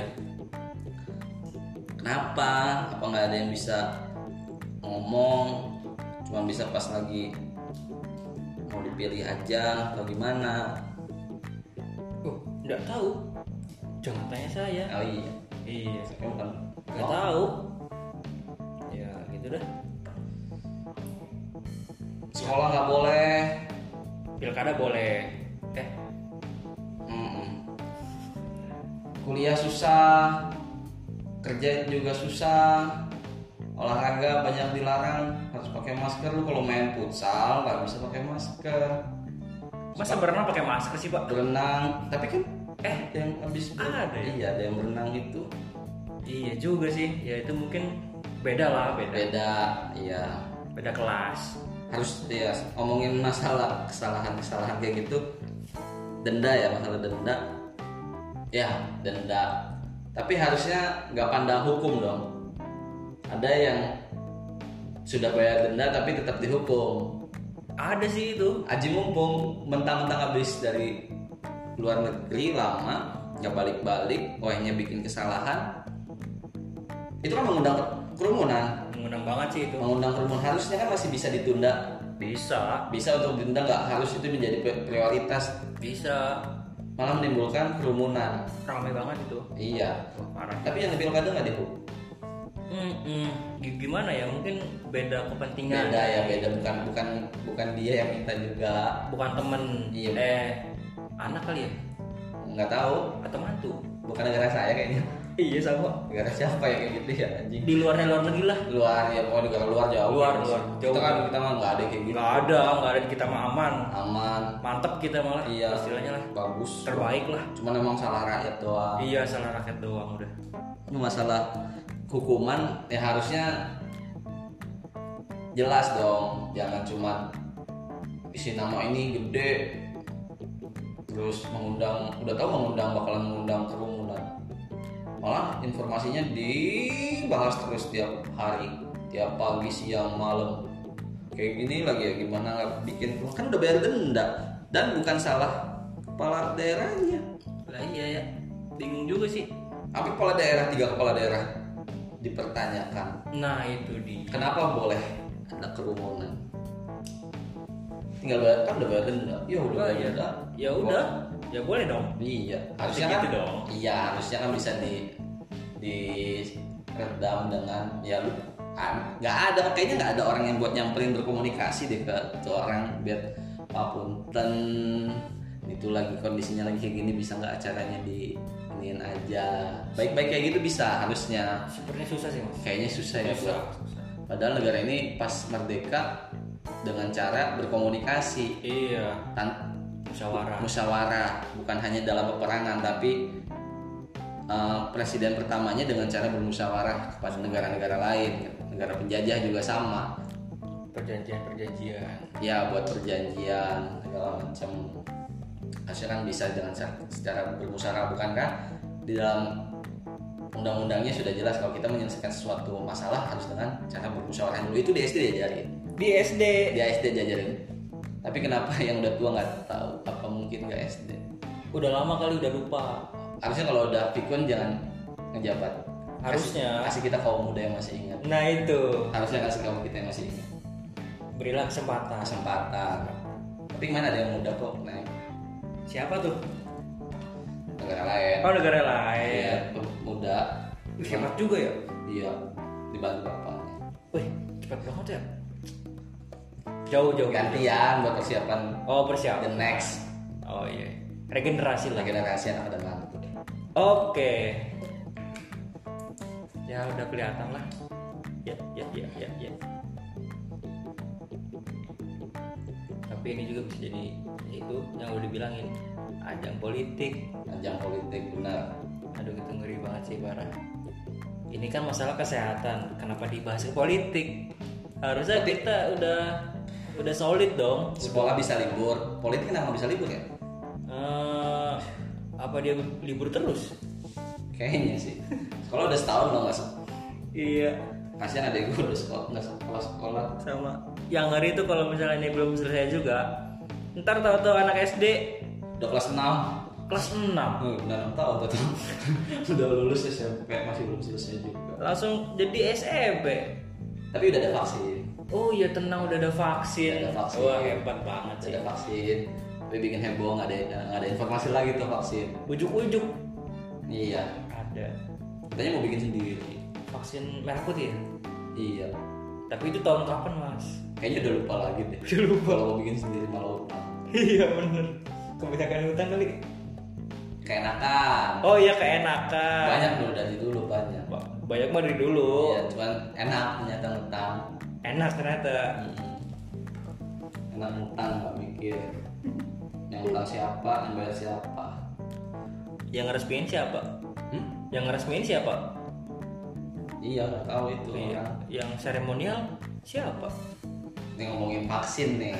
Speaker 1: kenapa apa nggak ada yang bisa ngomong cuma bisa pas lagi mau dipilih aja atau gimana
Speaker 2: Oh, nggak tahu. Jangan tanya saya.
Speaker 1: oh iya
Speaker 2: Iya.
Speaker 1: kamu kan
Speaker 2: Nggak tahu. Ya gitu dah.
Speaker 1: sekolah nggak boleh
Speaker 2: Pilkada boleh. Eh,
Speaker 1: Mm-mm. kuliah susah kerja juga susah olahraga banyak dilarang harus pakai masker lu kalau main futsal nggak bisa pakai masker
Speaker 2: masa berenang pakai masker sih pak?
Speaker 1: berenang tapi kan
Speaker 2: Eh,
Speaker 1: ada yang habis
Speaker 2: Ada ya?
Speaker 1: iya ada yang berenang itu
Speaker 2: iya juga sih. Ya itu mungkin beda lah, beda.
Speaker 1: beda iya
Speaker 2: Beda kelas.
Speaker 1: harus ya ngomongin masalah kesalahan kesalahan kayak gitu denda ya masalah denda ya denda tapi harusnya nggak pandang hukum dong ada yang sudah bayar denda tapi tetap dihukum
Speaker 2: Ada sih itu.
Speaker 1: Aji mumpung mentang-mentang habis dari luar negeri lama nggak balik-balik ohnya bikin kesalahan itu kan mengundang kerumunan
Speaker 2: mengundang banget sih itu
Speaker 1: mengundang kerumunan harusnya kan masih bisa ditunda
Speaker 2: bisa
Speaker 1: bisa untuk denda nggak harus itu menjadi pri- prioritas
Speaker 2: bisa
Speaker 1: malah menimbulkan kerumunan
Speaker 2: ramai banget itu
Speaker 1: iya
Speaker 2: parah
Speaker 1: tapi yang di pilkada nggak dihukum
Speaker 2: Mm-mm. G- gimana ya mungkin beda kepentingan
Speaker 1: beda ya beda bukan bukan bukan dia yang minta juga
Speaker 2: bukan temen
Speaker 1: Iya.
Speaker 2: eh anak kali ya
Speaker 1: nggak tahu
Speaker 2: atau mantu
Speaker 1: bukan negara saya kayaknya
Speaker 2: iya sama
Speaker 1: negara siapa ya kayak gitu ya anjing
Speaker 2: di luar luar negeri lah
Speaker 1: luar ya pokoknya negara luar jauh
Speaker 2: Luar, luar, jauh.
Speaker 1: kita kan kita mah nggak ada kayak gitu
Speaker 2: nggak ada nggak ada kita mah aman
Speaker 1: aman
Speaker 2: mantep kita malah
Speaker 1: iya
Speaker 2: istilahnya lah
Speaker 1: bagus
Speaker 2: terbaik lah
Speaker 1: cuman emang salah rakyat doang
Speaker 2: iya salah rakyat doang udah
Speaker 1: ini masalah hukuman ya harusnya jelas dong jangan cuma isi nama ini gede terus mengundang udah tahu mengundang bakalan mengundang kerumunan malah informasinya dibahas terus tiap hari tiap pagi siang malam kayak gini lagi ya gimana nggak bikin kan udah bayar denda dan bukan salah kepala daerahnya
Speaker 2: lah iya ya bingung juga sih
Speaker 1: tapi kepala daerah tiga kepala daerah dipertanyakan
Speaker 2: nah itu di
Speaker 1: kenapa boleh ada kerumunan tinggal bayar kan udah bayar denda ya udah bayar
Speaker 2: ya,
Speaker 1: denda
Speaker 2: ya udah ya boleh dong
Speaker 1: iya
Speaker 3: Harusnya
Speaker 1: harusnya kan
Speaker 3: gitu dong.
Speaker 1: iya harusnya kan bisa di di redam dengan ya lu an- nggak ada kayaknya nggak ada orang yang buat nyamperin berkomunikasi deh ke, ke orang biar Pak Punten itu lagi kondisinya lagi kayak gini bisa nggak acaranya di iniin aja baik-baik kayak gitu bisa harusnya
Speaker 2: sepertinya susah sih mas
Speaker 1: kayaknya susah ya
Speaker 3: Susah,
Speaker 1: buat
Speaker 3: susah.
Speaker 1: Padahal negara ini pas merdeka dengan cara berkomunikasi,
Speaker 2: iya
Speaker 1: tan-
Speaker 2: musyawarah
Speaker 1: musyawarah, bukan hanya dalam peperangan, tapi eh, presiden pertamanya dengan cara bermusyawarah kepada negara-negara lain, negara penjajah juga sama,
Speaker 2: perjanjian perjanjian
Speaker 1: ya buat perjanjian segala macam. Harusnya kan bisa dengan sa- secara bermusyawarah, bukan kan? Di dalam undang-undangnya sudah jelas kalau kita menyelesaikan sesuatu masalah harus dengan cara bermusyawarah dulu itu di SD diajarin.
Speaker 2: di SD
Speaker 1: di SD diajarin tapi kenapa yang udah tua nggak tahu apa mungkin nggak SD
Speaker 2: udah lama kali udah lupa
Speaker 1: harusnya kalau udah pikun jangan ngejabat
Speaker 2: Harusnya.
Speaker 1: kasih, kasih kita kaum muda yang masih ingat
Speaker 2: nah itu
Speaker 1: harusnya kasih kaum kita yang masih ingat
Speaker 2: berilah kesempatan
Speaker 1: kesempatan tapi mana ada yang muda kok naik
Speaker 2: siapa tuh
Speaker 1: negara lain
Speaker 2: oh negara
Speaker 1: Iya,
Speaker 2: lain
Speaker 1: muda
Speaker 2: Wih, hebat juga ya
Speaker 1: iya dibantu bapaknya
Speaker 2: wih cepat banget ya jauh jauh
Speaker 1: gantian buat persiapan
Speaker 2: oh
Speaker 1: the
Speaker 2: persiapan
Speaker 1: next
Speaker 2: oh iya regenerasi lah
Speaker 1: generasi anak dan mantu
Speaker 2: Oke. Ya udah kelihatan lah. Ya, ya, ya, ya, ya. Tapi ini juga bisa jadi itu yang udah dibilangin ajang politik.
Speaker 1: ajang politik benar
Speaker 2: Aduh itu ngeri banget sih parah. Ini kan masalah kesehatan. Kenapa dibahas ke politik? Harusnya kita udah udah solid dong.
Speaker 1: sekolah bisa libur politik kenapa bisa libur ya
Speaker 2: Eh, apa dia libur terus?
Speaker 1: Kayaknya sih. Sekolah udah setahun loh nggak sekolah.
Speaker 2: Iya.
Speaker 1: Kasihan adek gue udah sekolah nggak sekolah sekolah.
Speaker 2: sama yang ngeri itu kalau misalnya ini belum selesai juga ntar tahu-tahu anak SD
Speaker 1: Udah kelas 6
Speaker 2: kelas 6
Speaker 1: Hmm, udah enam tahun tuh. udah lulus SMP masih belum selesai juga.
Speaker 2: langsung jadi SMP
Speaker 1: Tapi udah ada vaksin.
Speaker 2: oh iya tenang udah ada vaksin,
Speaker 1: Udah ada vaksin.
Speaker 2: wah hebat banget
Speaker 1: Udah
Speaker 2: sih
Speaker 1: ada vaksin. Tapi bikin heboh nggak ada nggak ada informasi lagi tuh vaksin.
Speaker 2: ujuk-ujuk
Speaker 1: Iya.
Speaker 2: ada
Speaker 1: Katanya mau bikin sendiri.
Speaker 2: vaksin merah putih ya
Speaker 1: Iya.
Speaker 2: tapi itu tahun kapan mas
Speaker 1: Kayaknya udah lupa lagi deh.
Speaker 2: Udah lupa.
Speaker 1: Kalau mau bikin sendiri malah lupa.
Speaker 2: iya bener kebanyakan hutan kali
Speaker 1: Keenakan.
Speaker 2: oh iya keenakan
Speaker 1: Banyak loh dari dulu banyak.
Speaker 2: Ba- banyak mah dari dulu
Speaker 1: Iya, cuman enak ternyata ngutang.
Speaker 2: enak ternyata
Speaker 1: Mm. enak ngutang nggak mikir yang ngutang siapa yang bayar siapa
Speaker 2: yang ngeresmiin siapa
Speaker 1: hmm?
Speaker 2: yang ngeresmiin siapa
Speaker 1: iya nggak tahu itu
Speaker 2: Iya,
Speaker 1: orang
Speaker 2: yang seremonial siapa?
Speaker 1: ini ngomongin vaksin nih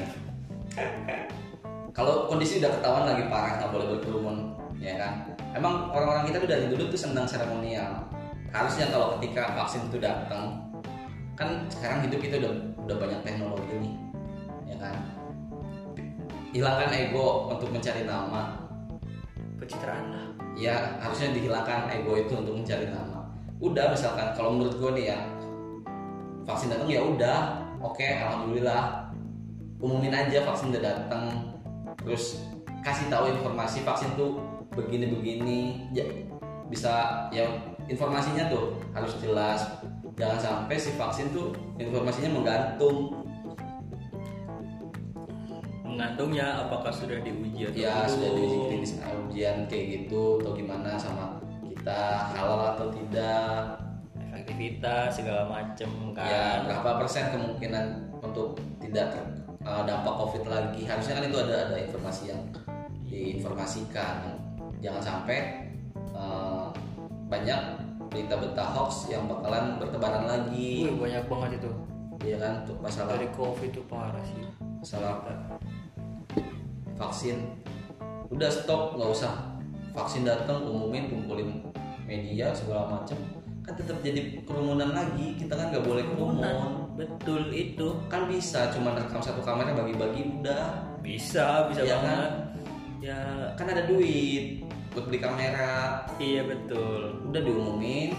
Speaker 1: kalau kondisi udah ketahuan lagi parah nggak boleh berkerumun ya kan emang orang-orang kita tuh dari dulu tuh senang seremonial harusnya kalau ketika vaksin itu datang kan sekarang hidup kita udah udah banyak teknologi nih ya kan hilangkan ego untuk mencari nama
Speaker 2: Pencitraan lah.
Speaker 1: ya harusnya dihilangkan ego itu untuk mencari nama udah misalkan kalau menurut gue nih ya vaksin datang ya udah oke alhamdulillah umumin aja vaksin udah datang terus kasih tahu informasi vaksin tuh begini begini ya bisa ya informasinya tuh harus jelas jangan sampai si vaksin tuh informasinya menggantung
Speaker 2: Menggantungnya apakah sudah diuji atau
Speaker 1: ya
Speaker 2: belum.
Speaker 1: sudah diuji klinis ujian kayak gitu atau gimana sama kita halal atau tidak
Speaker 2: Efektivitas segala macem
Speaker 1: ya
Speaker 2: kan.
Speaker 1: berapa persen kemungkinan untuk tidak ter, eh, dampak covid lagi harusnya kan itu ada ada informasi yang diinformasikan jangan sampai eh, banyak berita berita hoax yang bakalan bertebaran lagi
Speaker 2: Wih, banyak banget itu.
Speaker 1: ya kan untuk masalah
Speaker 2: Dari covid itu parah sih.
Speaker 1: masalah vaksin udah stop nggak usah vaksin datang umumin kumpulin media segala macam kan tetap jadi kerumunan lagi kita kan nggak boleh kerumunan
Speaker 2: betul itu.
Speaker 1: kan bisa cuma rekam satu kamera bagi-bagi udah
Speaker 2: Bisa, bisa
Speaker 1: Iya kan?
Speaker 2: banget. Ya,
Speaker 1: kan ada duit buat beli kamera
Speaker 2: iya betul.
Speaker 1: udah diumumin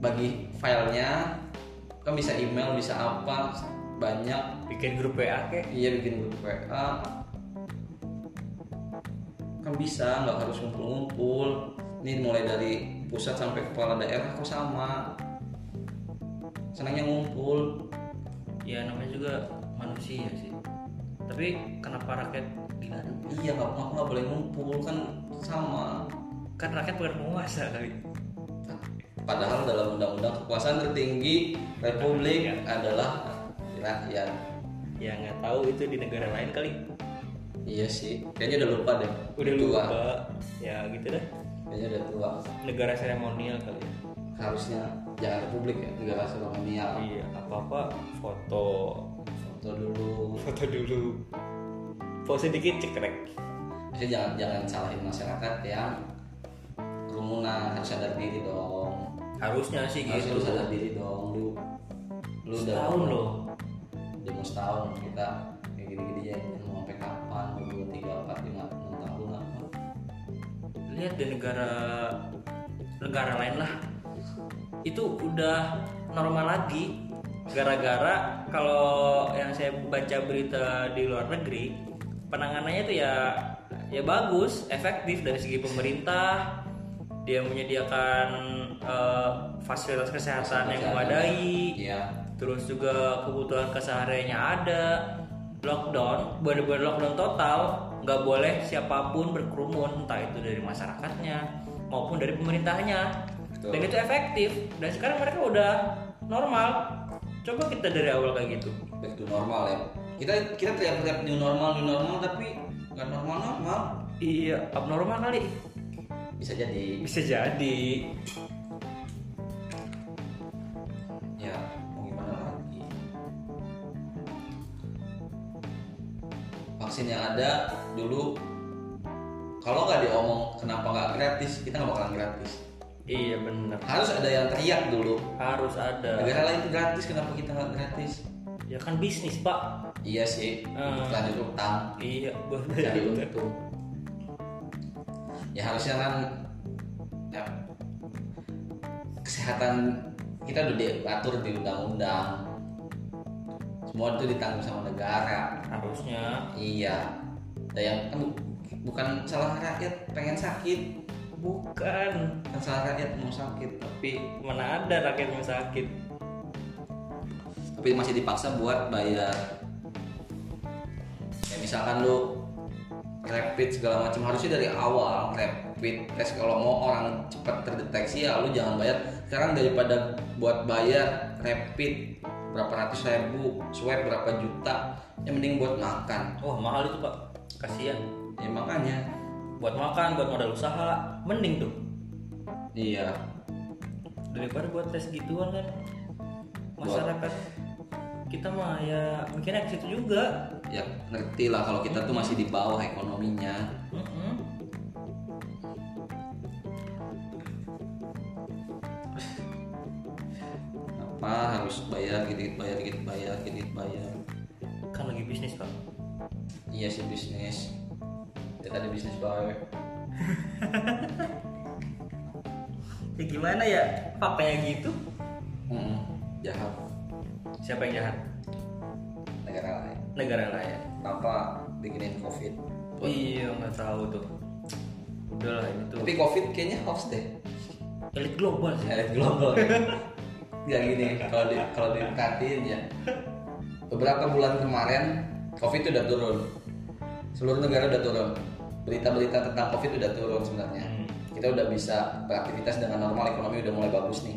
Speaker 1: bagi filenya kan bisa email bisa apa banyak
Speaker 2: bikin grup WA kek
Speaker 1: Iya bikin grup WA kan bisa nggak harus ngumpul-ngumpul ini mulai dari pusat sampai kepala daerah kok sama senangnya ngumpul
Speaker 2: ya namanya juga manusia sih tapi kenapa rakyat dilarang
Speaker 1: iya nggak nggak- nggak boleh ngumpul kan sama
Speaker 2: kan rakyat bukan penguasa kali
Speaker 1: padahal dalam undang-undang kekuasaan tertinggi
Speaker 2: Iya.
Speaker 1: republik adalah rakyat
Speaker 2: ya nggak tahu itu di negara lain kali
Speaker 1: iya sih kayaknya udah lupa deh
Speaker 2: udah
Speaker 1: tua
Speaker 2: lupa ya gitu deh
Speaker 1: kayaknya udah tua
Speaker 2: negara seremonial kali ya
Speaker 1: harusnya jangan republik ya negara seremonial
Speaker 2: iya apa apa foto
Speaker 1: foto dulu
Speaker 2: foto dulu pose dikit cekrek
Speaker 1: Jadi jangan jangan salahin masyarakat yang kerumunan harus sadar diri dong.
Speaker 2: harusnya sih
Speaker 1: Harus
Speaker 2: gitu
Speaker 1: lu sadar diri dong lu. Lu udah
Speaker 2: tahun loh
Speaker 1: Udah mau setahun kita kayak gini-gini ya mau sampai kapan? Mau dua tiga empat lima enam tahun apa?
Speaker 2: lihat di negara negara lain lah itu udah normal lagi gara-gara kalau yang saya baca berita di luar negeri penanganannya itu ya ya bagus efektif dari segi pemerintah dia menyediakan eh, fasilitas kesehatan yang memadai
Speaker 1: Iya.
Speaker 2: terus juga kebutuhan kesehariannya ada lockdown benar-benar lockdown total nggak boleh siapapun berkerumun entah itu dari masyarakatnya maupun dari pemerintahnya
Speaker 1: Betul.
Speaker 2: dan itu efektif dan sekarang mereka udah normal coba kita dari awal kayak gitu
Speaker 1: Back to normal ya. Kita kita teriak-teriak new normal new normal tapi nggak normal normal.
Speaker 2: iya abnormal kali
Speaker 1: Bisa jadi.
Speaker 2: bisa jadi
Speaker 1: Ya mau gimana lagi? Vaksin yang ada dulu kalau nggak diomong kenapa nggak gratis kita nggak bakalan gratis
Speaker 2: iya bener
Speaker 1: harus ada yang teriak dulu
Speaker 2: harus ada
Speaker 1: negara lain gratis kenapa kita nggak gratis
Speaker 2: ya kan bisnis pak
Speaker 1: iya sih
Speaker 2: Hmm.
Speaker 1: lanjut utang
Speaker 2: iya
Speaker 1: jadi
Speaker 2: bener
Speaker 1: untung ya harusnya kan ya, kesehatan kita udah diatur di undang-undang semua itu ditanggung sama negara
Speaker 2: harusnya
Speaker 1: iya ada yang kan bu- bukan salah rakyat pengen sakit
Speaker 2: bukan
Speaker 1: bukan salah rakyat mau sakit tapi
Speaker 2: mana ada rakyat yang sakit
Speaker 1: tapi masih dipaksa buat bayar ya misalkan lu rapid segala macam harusnya dari awal rapid tes kalau mau orang cepat terdeteksi ya lu jangan bayar sekarang daripada buat bayar rapid berapa ratus ribu swab berapa juta ya mending buat makan
Speaker 2: Wah Oh, mahal itu pak, kasihan.
Speaker 1: ya makanya
Speaker 2: Buat makan, buat modal usaha, mending tuh
Speaker 1: iya
Speaker 2: daripada buat tes gituan kan. Masyarakat kita mah ya mikirnya ke situ juga.
Speaker 1: ya ngerti lah kalau kita tuh masih di bawah ekonominya
Speaker 2: Mm-mm.
Speaker 1: apa harus bayar gitu bayar gitu bayar gitu bayar
Speaker 2: Kan lagi bisnis pak.
Speaker 1: Iya sih bisnis. Ya tadi bisnis baru.
Speaker 2: Ya gimana ya, papanya gitu.
Speaker 1: Mm-mm. Jahat
Speaker 2: Siapa yang jahat?
Speaker 1: negara lain.
Speaker 2: Negara lain.
Speaker 1: Kenapa bikinin covid?
Speaker 2: Iya nggak tahu tuh. Udahlah itu.
Speaker 1: Tapi covid kayaknya hoax deh.
Speaker 2: Elit global sih.
Speaker 1: Elit global. ya gini kalau di kalau diperhatiin ya. Beberapa bulan kemarin covid udah turun. Seluruh negara udah turun. Berita-berita tentang covid udah turun sebenarnya.
Speaker 2: Hmm.
Speaker 1: Kita udah bisa beraktivitas dengan normal, ekonomi udah mulai bagus nih.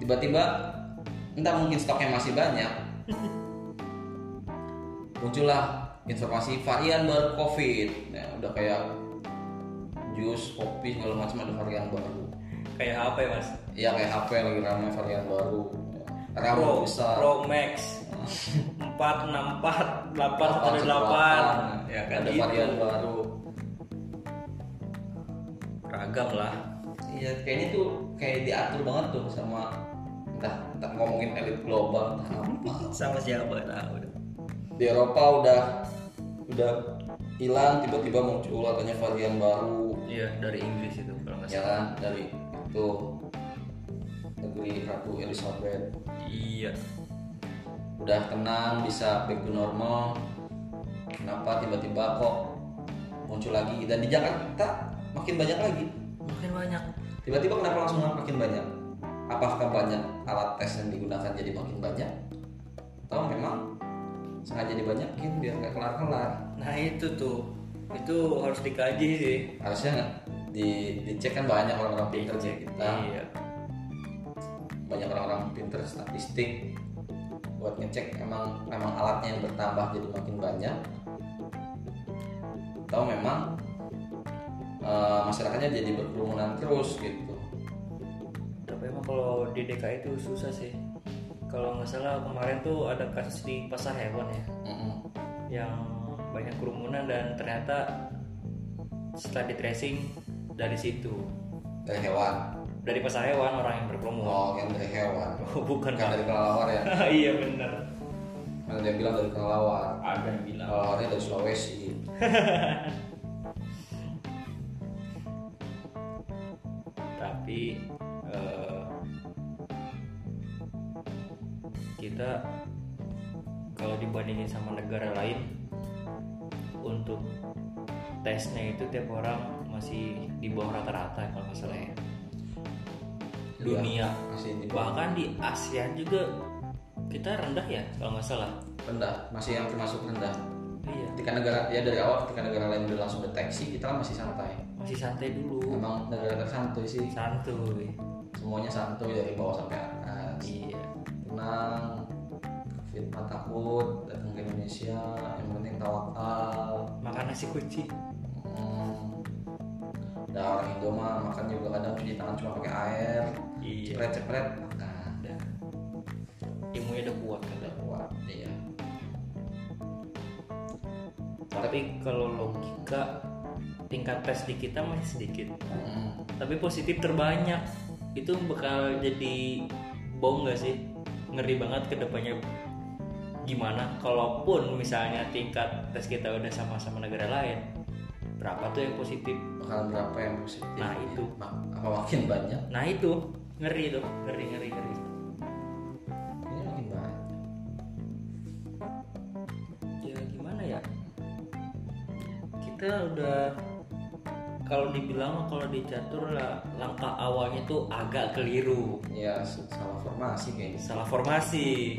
Speaker 1: Tiba-tiba entah mungkin stoknya masih banyak, muncullah informasi varian baru COVID. Nah, udah kayak jus, kopi segala macam ada varian baru.
Speaker 2: Kayak apa ya mas?
Speaker 1: Iya kayak HP lagi ramai varian baru. Ya, RAM
Speaker 2: Pro,
Speaker 1: besar.
Speaker 2: Pro Max 464 818 ya kan
Speaker 1: Iya, ada
Speaker 2: gitu.
Speaker 1: varian baru.
Speaker 2: Ragam lah.
Speaker 1: Iya, kayaknya tuh kayak diatur banget tuh sama entah, entah ngomongin elit global entah apa.
Speaker 2: Sama siapa Nah, tahu.
Speaker 1: Di Eropa udah udah hilang tiba-tiba muncul adanya varian baru
Speaker 2: Iya, dari Inggris itu kalau nggak salah.
Speaker 1: jalan dari itu negeri Ratu Elizabeth
Speaker 2: Iya.
Speaker 1: udah tenang bisa back to normal kenapa tiba-tiba kok muncul lagi dan di Jakarta makin banyak lagi
Speaker 2: makin banyak
Speaker 1: tiba-tiba kenapa langsung makin banyak apakah banyak alat tes yang digunakan jadi makin banyak atau memang sengaja dibanyakin biar nggak kelar-kelar
Speaker 2: nah itu tuh itu harus dikaji sih
Speaker 1: harusnya nggak di dicek kan banyak orang-orang pinter ya kita
Speaker 2: iya
Speaker 1: banyak orang-orang pinter statistik buat ngecek emang emang alatnya yang bertambah jadi makin banyak atau memang eh, masyarakatnya jadi berkerumunan terus gitu
Speaker 2: tapi emang kalau di DKI itu susah sih kalau nggak salah kemarin tuh ada kasus di pasar hewan ya
Speaker 1: Mm-mm.
Speaker 2: yang banyak kerumunan dan ternyata setelah di tracing dari situ
Speaker 1: dari hewan
Speaker 2: dari pasar hewan orang yang berkerumun
Speaker 1: oh yang dari hewan
Speaker 2: bukan
Speaker 1: bukan dari kelelawar ya
Speaker 2: iya benar
Speaker 1: ada yang bilang dari kelelawar
Speaker 2: ada yang bilang
Speaker 1: kelelawarnya dari Sulawesi
Speaker 2: tapi eh, kita kalau dibandingin sama negara lain untuk tesnya itu tiap orang masih di bawah rata-rata kalau nggak salah ya dunia
Speaker 1: masih di
Speaker 2: bahkan di ASEAN juga kita rendah ya kalau nggak salah
Speaker 1: rendah masih yang termasuk rendah
Speaker 2: iya
Speaker 1: ketika negara ya dari awal ketika negara lain udah langsung deteksi kita kan masih santai
Speaker 2: masih santai dulu
Speaker 1: emang negara tersantuy sih
Speaker 2: Iya. santuy
Speaker 1: semuanya santuy dari bawah sampai atas
Speaker 2: iya
Speaker 1: tenang fitnah takut datang ke Indonesia yang penting tawakal
Speaker 2: makan nasi kucing
Speaker 1: hmm. Ada orang Indo mah makan juga kadang cuci tangan cuma pakai air
Speaker 2: iya
Speaker 1: cepret cepret makan
Speaker 2: udah ilmunya udah kuat kan
Speaker 1: udah kuat iya
Speaker 2: tapi kalau logika tingkat tes di kita masih sedikit
Speaker 1: Hmm.
Speaker 2: tapi positif terbanyak itu bakal jadi bom nggak sih ngeri banget kedepannya gimana kalaupun misalnya tingkat tes kita udah sama-sama negara lain berapa tuh yang positif
Speaker 1: bakalan berapa yang positif
Speaker 2: Nah, itu.
Speaker 1: Ma- apa makin banyak
Speaker 2: nah itu ngeri tuh ngeri ngeri ngeri
Speaker 1: ini makin banyak
Speaker 2: ya gimana ya kita udah kalau dibilang kalau dicatur lah langkah awalnya tuh agak keliru
Speaker 1: ya s- salah formasi kayaknya
Speaker 2: salah formasi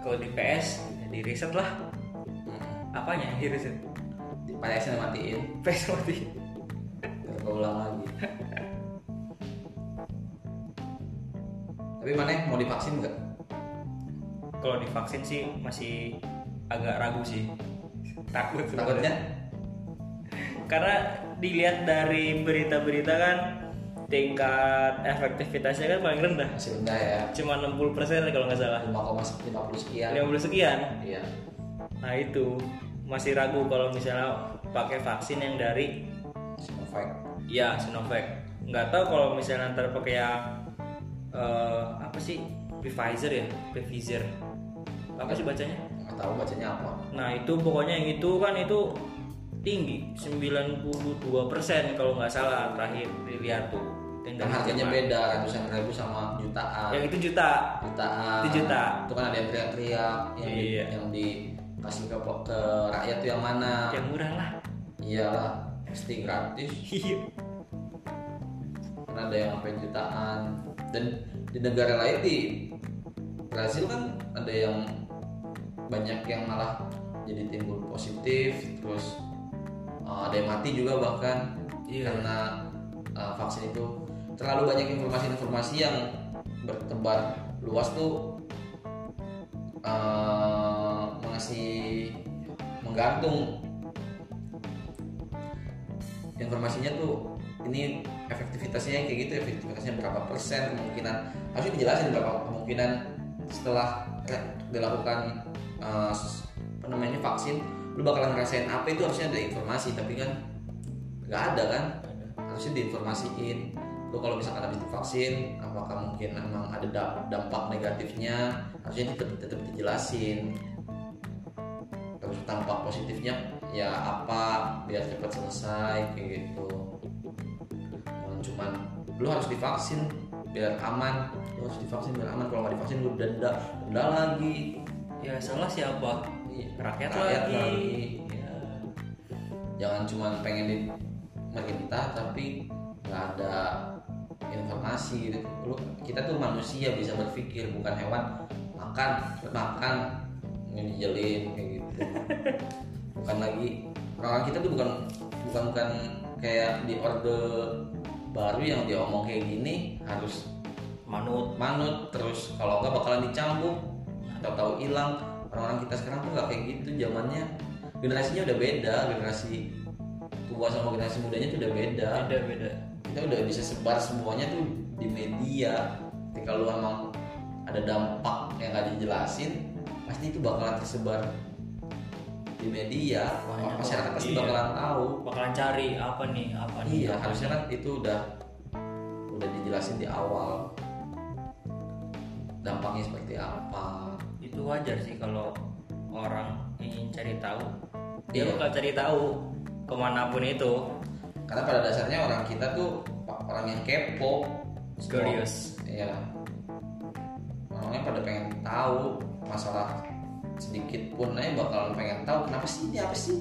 Speaker 2: kalau di PS ya di reset lah
Speaker 1: hmm.
Speaker 2: apanya Iya, yang di reset
Speaker 1: di PSN matiin
Speaker 2: PS mati
Speaker 1: biar keulang lagi tapi mana mau divaksin nggak
Speaker 2: kalau divaksin sih masih agak ragu sih takut sebenarnya.
Speaker 1: takutnya
Speaker 2: karena dilihat dari berita-berita kan tingkat efektivitasnya kan paling rendah
Speaker 1: masih rendah ya
Speaker 2: cuma 60% kalau nggak salah
Speaker 1: 5,50 sekian
Speaker 2: 50 sekian
Speaker 1: iya
Speaker 2: nah itu masih ragu kalau misalnya pakai vaksin yang dari
Speaker 1: Sinovac
Speaker 2: Iya Sinovac. Nggak tahu kalau misalnya ntar pakai yang eh, apa sih Pfizer ya, Pfizer. Apa sih bacanya?
Speaker 1: nggak tahu bacanya apa
Speaker 2: Nah itu pokoknya yang itu kan itu tinggi 92% kalau nggak salah terakhir dilihat tuh. Yang
Speaker 1: dan
Speaker 2: dari
Speaker 1: harganya
Speaker 2: Jerman.
Speaker 1: beda ratusan ribu sama jutaan
Speaker 2: Yang itu juta.
Speaker 1: jutaan
Speaker 2: Itu Iya. juta.
Speaker 1: itu kan ada yang teriak-teriak yang di-
Speaker 2: Iya.
Speaker 1: yang dikasih ke ke rakyat tuh yang mana
Speaker 2: Yang Ya murah lah.
Speaker 1: iyalah pasti gratis
Speaker 2: Iya.
Speaker 1: karena ada yang sampai jutaan dan di negara lain di Brazil kan ada yang banyak yang malah jadi timbul positif terus uh, ada yang mati juga bahkan
Speaker 2: Iya.
Speaker 1: karena uh, vaksin itu terlalu banyak informasi-informasi yang bertebar luas tuh uh, mengasih menggantung informasinya tuh ini efektivitasnya kayak gitu efektivitasnya berapa persen kemungkinan harusnya dijelasin berapa kemungkinan setelah re- dilakukan eh, s- apa namanya vaksin lu bakalan ngerasain apa itu harusnya ada informasi tapi kan nggak ada kan harusnya diinformasiin lu kalau misalkan habis divaksin apakah mungkin emang ada da- dampak negatifnya harusnya tetap tetap dijelasin terus dampak positifnya ya apa biar cepat selesai kayak gitu Jangan cuman lu harus divaksin biar aman lu harus divaksin biar aman kalau nggak divaksin lu denda denda lagi
Speaker 2: ya salah siapa
Speaker 1: Iya.
Speaker 2: Rakyat lagi.
Speaker 1: Iya. Jangan cuma pengen di merintah tapi nggak ada informasi gitu. Lu, kita tuh manusia bisa berpikir bukan hewan makan makan ini dijelin kayak gitu. bukan lagi orang kita tuh bukan bukan bukan kayak di orde baru yang dia omong kayak gini harus
Speaker 2: manut
Speaker 1: manut terus kalau nggak bakalan dicambuk tahu-tahu hilang orang-orang kita sekarang tuh nggak kayak gitu zamannya generasinya udah beda generasi tua sama generasi mudanya tuh udah beda
Speaker 2: beda beda
Speaker 1: kita udah bisa sebar semuanya tuh di media ketika lu emang ada dampak yang gak dijelasin pasti itu bakalan tersebar di media
Speaker 2: Banyak
Speaker 1: masyarakat pasti
Speaker 2: iya.
Speaker 1: bakalan tahu
Speaker 2: bakalan cari apa nih apa nih
Speaker 1: iya
Speaker 2: apa
Speaker 1: harusnya
Speaker 2: nih.
Speaker 1: kan itu udah udah dijelasin di awal dampaknya seperti apa
Speaker 2: itu wajar sih kalau orang ingin cari tahu dia
Speaker 1: Iya.
Speaker 2: bakal cari tahu kemanapun itu
Speaker 1: karena pada dasarnya orang kita tuh orang yang kepo
Speaker 2: Curious.
Speaker 1: iya orangnya pada pengen tahu masalah sedikit pun aja bakalan pengen tahu kenapa sih ini apa sih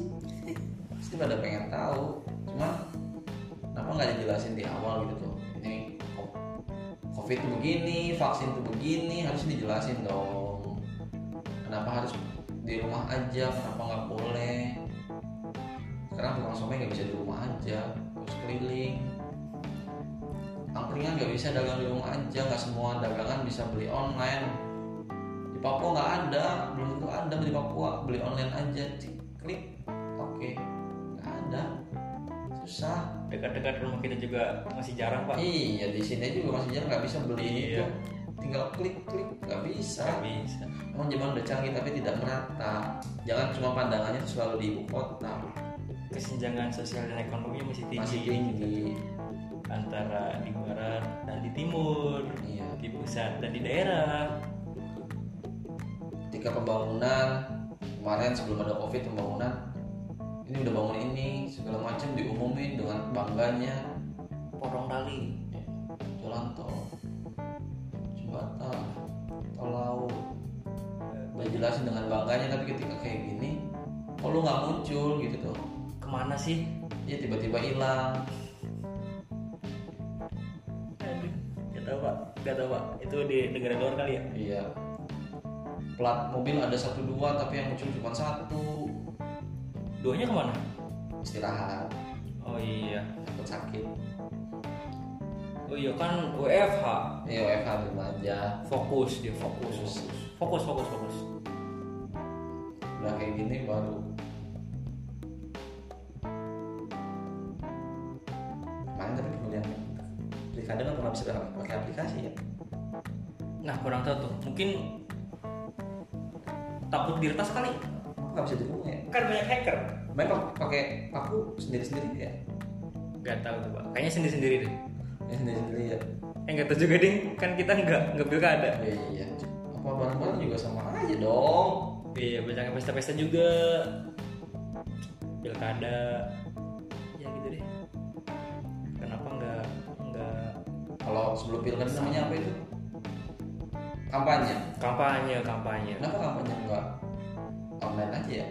Speaker 1: pasti pada pengen tahu cuma kenapa nggak dijelasin di awal gitu tuh ini ko- covid tuh begini vaksin tuh begini harus dijelasin dong kenapa harus di rumah aja kenapa nggak boleh sekarang tukang somai nggak bisa di rumah aja harus keliling angkringan nggak bisa dagang di rumah aja nggak semua dagangan bisa beli online di Papua nggak ada belum tentu ada di Papua beli online aja Cik, klik oke nggak ada susah
Speaker 2: dekat-dekat rumah kita juga masih jarang pak
Speaker 1: iya di sini juga masih jarang nggak bisa beli itu
Speaker 2: Iya.
Speaker 1: tinggal klik klik nggak bisa
Speaker 2: Nggak bisa
Speaker 1: Emang zaman udah canggih tapi tidak merata. Jangan cuma pandangannya tuh selalu di ibu kota.
Speaker 2: kesenjangan sosial dan ekonomi masih tinggi,
Speaker 1: Masih tinggi.
Speaker 2: antara di barat dan di timur
Speaker 1: Iya.
Speaker 2: di pusat dan di daerah
Speaker 1: Ketika pembangunan kemarin sebelum ada covid pembangunan ini udah bangun ini segala macam diumumin dengan bangganya
Speaker 2: porong kali
Speaker 1: jalan tol jembatan tol laut udah jelasin dengan bangganya tapi ketika kayak gini kok lu nggak muncul gitu tuh
Speaker 2: kemana sih
Speaker 1: dia tiba-tiba hilang
Speaker 2: Gak tau pak, gak tau pak. Itu di negara luar kali ya?
Speaker 1: Iya. Plat mobil ada satu dua tapi yang muncul cuma satu.
Speaker 2: Duanya kemana?
Speaker 1: Istirahat,
Speaker 2: Oh iya,
Speaker 1: takut sakit.
Speaker 2: oh iya kan WFH.
Speaker 1: Iya WFH di rumah aja.
Speaker 2: Fokus dia fokus.
Speaker 1: Fokus.
Speaker 2: Fokus fokus fokus.
Speaker 1: Udah kayak gini baru. Kemarin tapi pemilihan pilkada nggak kan pernah bisa pakai aplikasi ya?
Speaker 2: Nah kurang tahu tuh. Mungkin takut diretas kali.
Speaker 1: Aku nggak bisa di rumah ya?
Speaker 2: Kan banyak hacker.
Speaker 1: Main pak- pakai aku sendiri sendiri ya?
Speaker 2: Gak tahu tuh pak. Kayaknya sendiri sendiri deh.
Speaker 1: Ya sendiri sendiri ya.
Speaker 2: Eh nggak tahu juga ding. Kan kita nggak nggak pilkada.
Speaker 1: Eh, iya. Apa barang-barang juga sama aja dong.
Speaker 2: Iya banyak yang pesta-pesta juga. Pilkada. Ya gitu deh. Kenapa nggak nggak
Speaker 1: Kalau sebelum pilkada namanya apa itu? Kampanye.
Speaker 2: kampanye kampanye?
Speaker 1: Kenapa kampanye nggak online aja ya?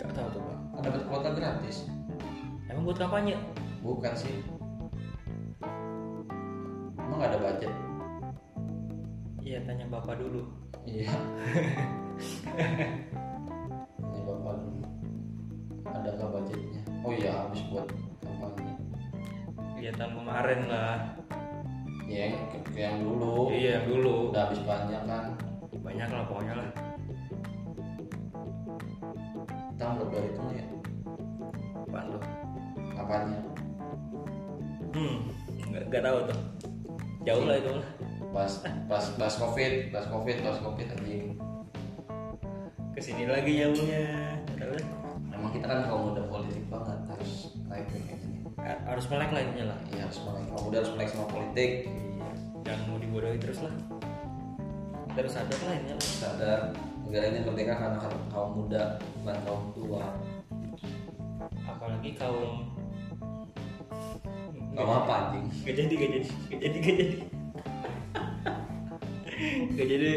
Speaker 2: Gak tahu tuh pak.
Speaker 1: Kan dapat kuota gratis.
Speaker 2: Emang buat kampanye?
Speaker 1: Bukan sih. Emang nggak ada budget?
Speaker 2: Iya tanya bapak dulu.
Speaker 1: Iya. Ini bapak dulu. Ada nggak budgetnya? Oh iya habis buat kampanye.
Speaker 2: Kegiatan kemarin lah.
Speaker 1: Ya yang, yang dulu.
Speaker 2: Iya yang dulu.
Speaker 1: Udah habis banyak kan.
Speaker 2: Banyak lah pokoknya lah.
Speaker 1: Kita belum dari itu ya.
Speaker 2: Apaan tuh?
Speaker 1: Kampanye.
Speaker 2: Hmm. Gak, gak tahu tuh. Jauh lah itu lah.
Speaker 1: Pas pas pas covid, pas covid, pas covid anjing.
Speaker 2: Kesini lagi jauhnya. Gak tahu lah.
Speaker 1: Emang kita kan kalau udah politik banget harus naik ini.
Speaker 2: Ha- Harus melek lah itunya lah. Iya,
Speaker 1: Iya harus melek. Kalau udah harus melek sama politik.
Speaker 2: Jangan mau dibodohi terus lah. Terus ada lah ininya lah.
Speaker 1: sadar negara ini merdeka karena kaum- kaum muda bukan kaum tua
Speaker 2: Apalagi kaum
Speaker 1: kaum apa anjing
Speaker 2: Gak jadi, gak jadi, gak jadi, gak jadi. gak jadi.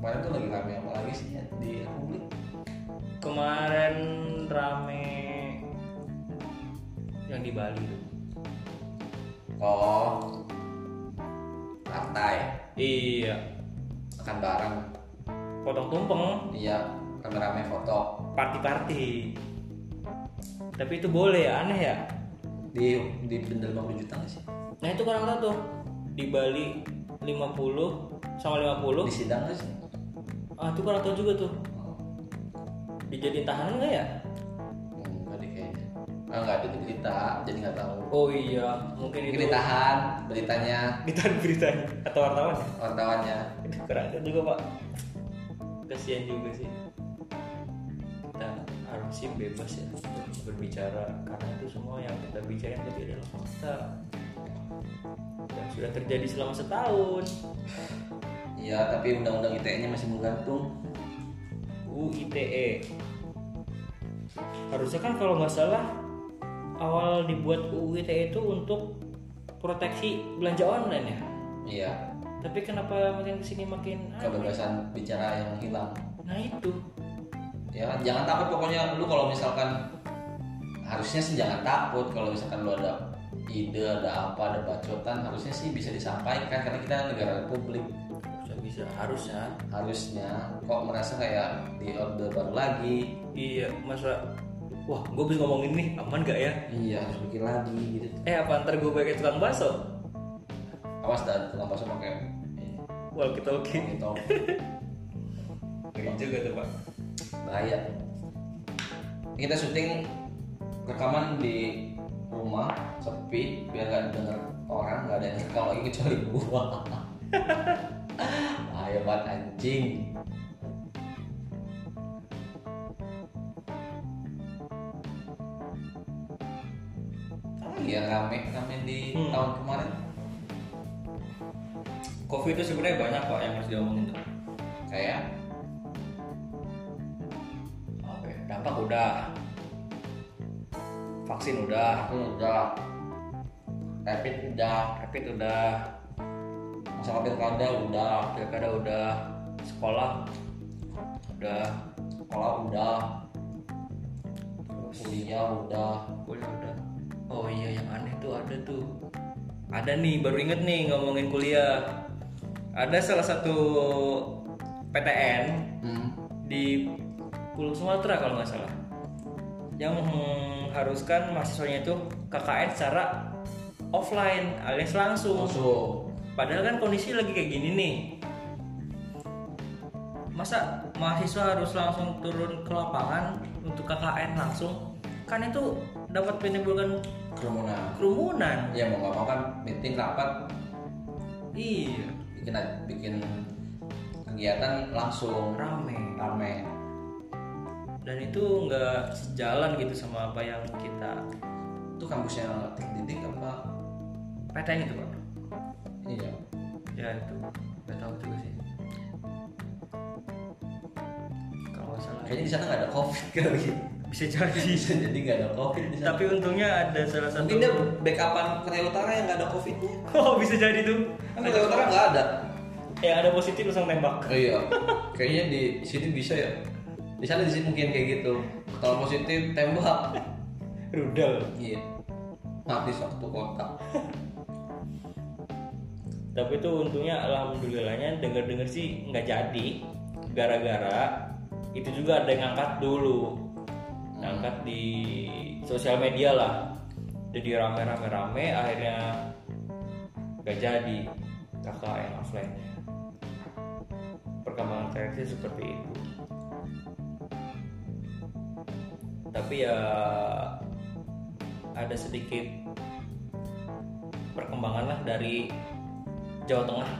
Speaker 1: kemarin tuh lagi rame apa lagi sih ya di Republik
Speaker 2: kemarin rame yang di Bali tuh.
Speaker 1: oh partai
Speaker 2: iya
Speaker 1: akan barang
Speaker 2: potong tumpeng
Speaker 1: iya rame-rame foto
Speaker 2: party-party tapi itu boleh ya aneh ya
Speaker 1: di di denda 50 juta nggak sih
Speaker 2: nah itu kurang tahu tuh di Bali 50 sama 50
Speaker 1: di sidang nggak sih Oh,
Speaker 2: ah itu kurang tahu juga tuh dijadiin tahanan nggak ya
Speaker 1: enggak deh kayaknya ah nggak ada di berita jadi nggak tahu
Speaker 2: oh iya mungkin
Speaker 1: mungkin
Speaker 2: itu
Speaker 1: ditahan beritanya
Speaker 2: ditahan beritanya atau wartawan ya?
Speaker 1: wartawannya
Speaker 2: itu kurang tahu juga pak kasihan juga sih kita harus sih bebas ya untuk berbicara karena itu semua yang kita bicarain tadi adalah fakta yang sudah terjadi selama setahun
Speaker 1: iya tapi undang-undang ITE nya masih menggantung
Speaker 2: UITE. E. Harusnya kan kalau nggak salah awal dibuat UITE E itu untuk proteksi belanja online ya.
Speaker 1: iya
Speaker 2: Tapi kenapa makin kesini makin aneh?
Speaker 1: kebebasan bicara yang hilang
Speaker 2: Nah itu
Speaker 1: ya jangan takut pokoknya lu kalau misalkan harusnya sih jangan takut kalau misalkan lu ada ide ada apa ada bacotan harusnya sih bisa disampaikan karena kita negara republik
Speaker 2: harusnya bisa harusnya.
Speaker 1: harusnya kok merasa kayak di order baru lagi
Speaker 2: Iya masa wah gue bisa ngomongin nih aman gak ya?
Speaker 1: iya harus bikin lagi gitu
Speaker 2: Eh apa ntar gue pakai tukang baso?
Speaker 1: awas dan tukang bakso pakai ini,
Speaker 2: Walkie talkie.
Speaker 1: pakai tong
Speaker 2: Ngeri juga tuh pak.
Speaker 1: bahaya kita syuting rekaman di rumah sepi biar gak denger orang gak ada yang rekam lagi kecuali gua bahaya banget anjing Iya rame rame di
Speaker 2: Hmm.
Speaker 1: tahun kemarin
Speaker 2: Covid itu sebenarnya banyak pak yang harus diomongin tuh.
Speaker 1: kayak
Speaker 2: Oke, dampak udah. Vaksin udah,
Speaker 1: aku udah rapid udah
Speaker 2: rapid udah,
Speaker 1: masalah pilkada udah
Speaker 2: pilkada udah, sekolah udah,
Speaker 1: sekolah udah kuliah udah
Speaker 2: kuliah udah. Oh iya yang aneh tuh ada tuh. Ada nih baru inget nih ngomongin kuliah. Ada salah satu PTN
Speaker 1: Hmm.
Speaker 2: di Pulau Sumatera kalau nggak salah yang mengharuskan mahasiswanya itu KKN secara offline alias langsung
Speaker 1: masuk
Speaker 2: Padahal kan kondisi lagi kayak gini nih. Masa mahasiswa harus langsung turun ke lapangan untuk KKN langsung? Kan itu dapat menimbulkan
Speaker 1: kerumunan
Speaker 2: kerumunan.
Speaker 1: ya mau nggak mau kan meeting rapat
Speaker 2: Iya,
Speaker 1: bikin bikin kegiatan langsung
Speaker 2: rame.
Speaker 1: rame
Speaker 2: Dan itu nggak sejalan gitu sama apa yang kita
Speaker 1: itu kampusnya titik apa
Speaker 2: PTN itu pak.
Speaker 1: iya
Speaker 2: Ya itu, nggak tahu juga sih. Kalau nggak salah
Speaker 1: kayaknya di sana nggak ada covid kali
Speaker 2: bisa jadi.
Speaker 1: bisa jadi nggak ada covid di sana
Speaker 2: Tapi untungnya ada salah satu.
Speaker 1: mungkin dia backupan Korea Utara yang nggak ada covidnya
Speaker 2: Oh bisa jadi tuh.
Speaker 1: kan Korea Utara nggak ada
Speaker 2: Ya ada positif langsung tembak.
Speaker 1: oh, iya kayaknya di sini bisa ya di sana di sini mungkin kayak gitu kalau positif tembak
Speaker 2: Rudal.
Speaker 1: Iya. Mati satu kotak.
Speaker 2: Tapi itu untungnya alhamdulillahnya denger-denger sih nggak jadi. Gara-gara itu juga ada yang ngangkat dulu. Ngangkat di sosial media lah. Jadi rame-rame-rame akhirnya nggak jadi KKN offline. Perkembangan kreatif seperti itu. Tapi ya ada sedikit perkembangan lah dari Jawa Tengah.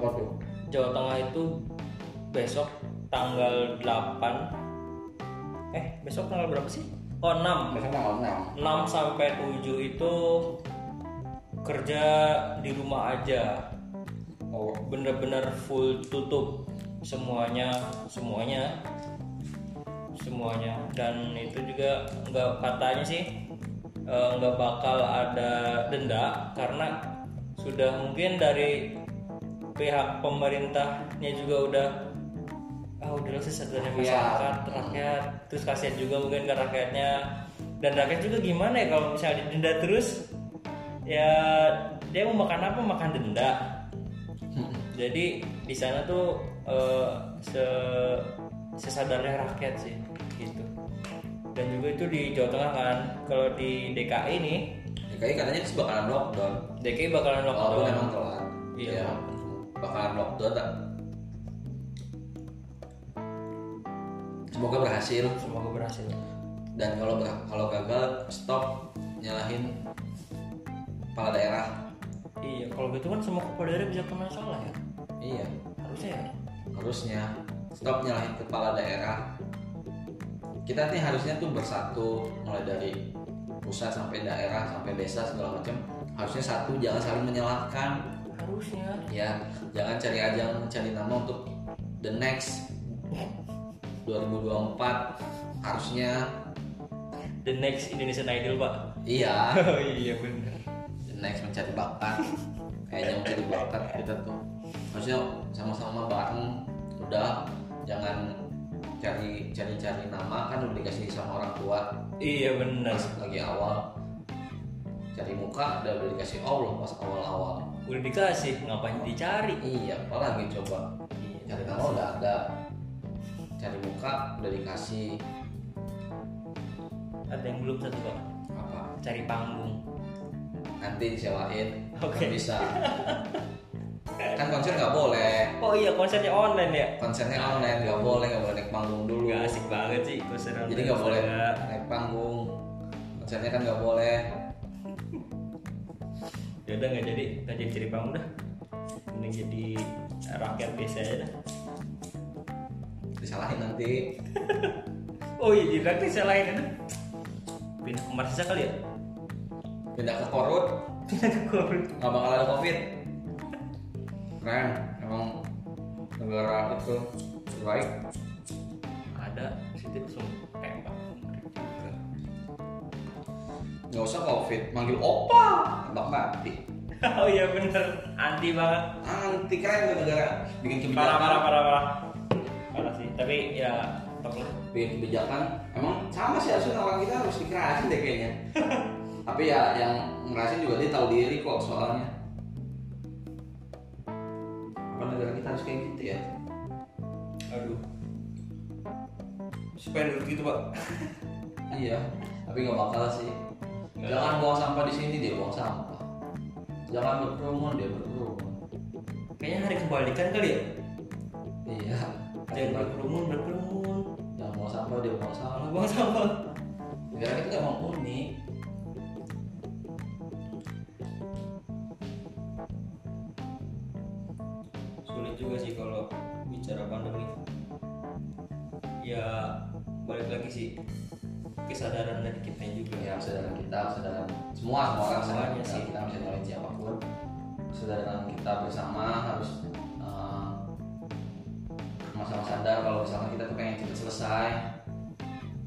Speaker 1: Apa tuh?
Speaker 2: Jawa Tengah itu besok tanggal 8 eh besok tanggal berapa sih? Oh 6.
Speaker 1: Mereka tanggal
Speaker 2: 6 sampai 7 itu kerja di rumah aja.
Speaker 1: 6. Oh,
Speaker 2: Bener-bener full tutup semuanya semuanya semuanya dan itu juga nggak katanya sih eh, nggak bakal ada denda karena sudah mungkin dari pihak pemerintahnya juga udah ah udahlah
Speaker 1: Iya.
Speaker 2: sesederhana masyarakat rakyat terus kasihan juga mungkin ke rakyatnya dan rakyat juga gimana ya kalau misalnya didenda terus ya dia mau makan apa makan denda jadi di sana tuh eh, se sesadarnya rakyat sih gitu dan juga itu di Jawa Tengah kan kalau di DKI nih
Speaker 1: DKI ya katanya sih bakalan lockdown
Speaker 2: DKI bakalan
Speaker 1: walaupun
Speaker 2: lockdown
Speaker 1: emang telat
Speaker 2: Iya.
Speaker 1: Ya, bakalan lockdown tak semoga berhasil
Speaker 2: semoga berhasil
Speaker 1: dan kalau ber- kalau gagal stop nyalahin kepala daerah
Speaker 2: iya kalau gitu kan semua kepala daerah bisa kena salah ya
Speaker 1: iya
Speaker 2: harusnya ya
Speaker 1: harusnya stop nyalahin kepala daerah kita nih harusnya tuh bersatu mulai dari pusat sampai daerah sampai desa segala macam harusnya satu jangan saling menyalahkan
Speaker 2: harusnya
Speaker 1: ya jangan cari ajang cari nama untuk the next 2024 harusnya
Speaker 2: the next Indonesian Idol pak
Speaker 1: iya
Speaker 2: oh iya benar
Speaker 1: the next mencari bakat kayaknya mencari bakat kita tuh harusnya sama-sama bareng udah jangan cari cari cari nama kan udah dikasih sama orang tua
Speaker 2: iya benar
Speaker 1: pas lagi awal cari muka udah udah dikasih Allah pas awal-awal
Speaker 2: udah dikasih ngapain dicari
Speaker 1: iya apalagi coba cari nama udah ada cari muka udah dikasih
Speaker 2: ada yang belum satu pak
Speaker 1: apa
Speaker 2: cari panggung
Speaker 1: nanti disewain
Speaker 2: Oke.
Speaker 1: Nggak bisa kan konser nggak boleh
Speaker 2: oh iya konsernya online ya
Speaker 1: konsernya online nggak boleh nggak boleh naik panggung dulu
Speaker 2: Gak asik banget sih konser online
Speaker 1: jadi nggak boleh
Speaker 2: Nggak.
Speaker 1: naik panggung konsernya kan nggak boleh
Speaker 2: ya udah nggak jadi nggak jadi cari panggung dah ini jadi rakyat biasa aja dah
Speaker 1: disalahin nanti
Speaker 2: oh iya jadi rakyat selain lain dah pindah ke Marsisa kali ya
Speaker 1: pindah ke korut
Speaker 2: pindah ke Korut
Speaker 1: nggak bakal ada covid keren emang negara itu terbaik
Speaker 2: ada situ langsung tembak juga
Speaker 1: nggak usah covid manggil opa tembak mati
Speaker 2: oh iya bener anti banget
Speaker 1: anti keren tuh negara bikin
Speaker 2: parah
Speaker 1: kebijakan
Speaker 2: parah parah parah parah sih tapi ya top lah
Speaker 1: bikin kebijakan emang sama sih harusnya orang kita harus dikerasin deh kayaknya tapi ya yang ngerasin juga dia tahu diri kok soalnya apa negara kita harus kayak gitu ya
Speaker 2: aduh supaya duduk gitu pak
Speaker 1: iya tapi nggak bakal sih
Speaker 2: Nggak.
Speaker 1: jangan buang sampah di sini dia buang sampah jangan berkerumun dia berkerumun
Speaker 2: kayaknya hari kebalikan kali ya
Speaker 1: iya
Speaker 2: jangan berkerumun berkerumun
Speaker 1: jangan buang sampah dia buang sampah
Speaker 2: kalau buang sampah
Speaker 1: negara kita emang unik
Speaker 2: sulit juga sih kalau bicara pandemi ya balik lagi sih kesadaran dari kita juga
Speaker 1: ya kesadaran kita kesadaran semua semua orang kesadaran
Speaker 2: Semuanya
Speaker 1: kita,
Speaker 2: sih.
Speaker 1: kita bisa nyalain siapapun kesadaran kita bersama harus eh, sama-sama sadar kalau misalnya kita tuh pengen cepet selesai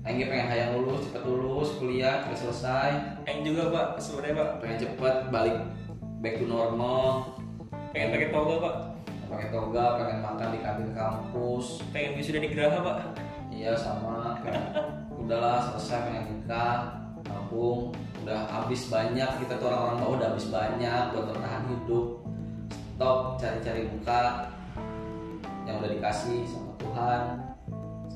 Speaker 1: Aing pengen hayang lulus, cepet lulus, kuliah, cepet selesai
Speaker 2: yang juga pak sebenarnya pak
Speaker 1: Pengen cepet balik back to normal
Speaker 2: pengen pakai toga pak
Speaker 1: Pakai toga, pengen makan di kantin kampus
Speaker 2: pengen wisuda di Geraha pak
Speaker 1: Iya sama kayak, udahlah selesai pengen nikah nabung udah habis banyak kita tuh orang-orang bawah udah habis banyak buat bertahan hidup stop cari-cari muka yang udah dikasih sama Tuhan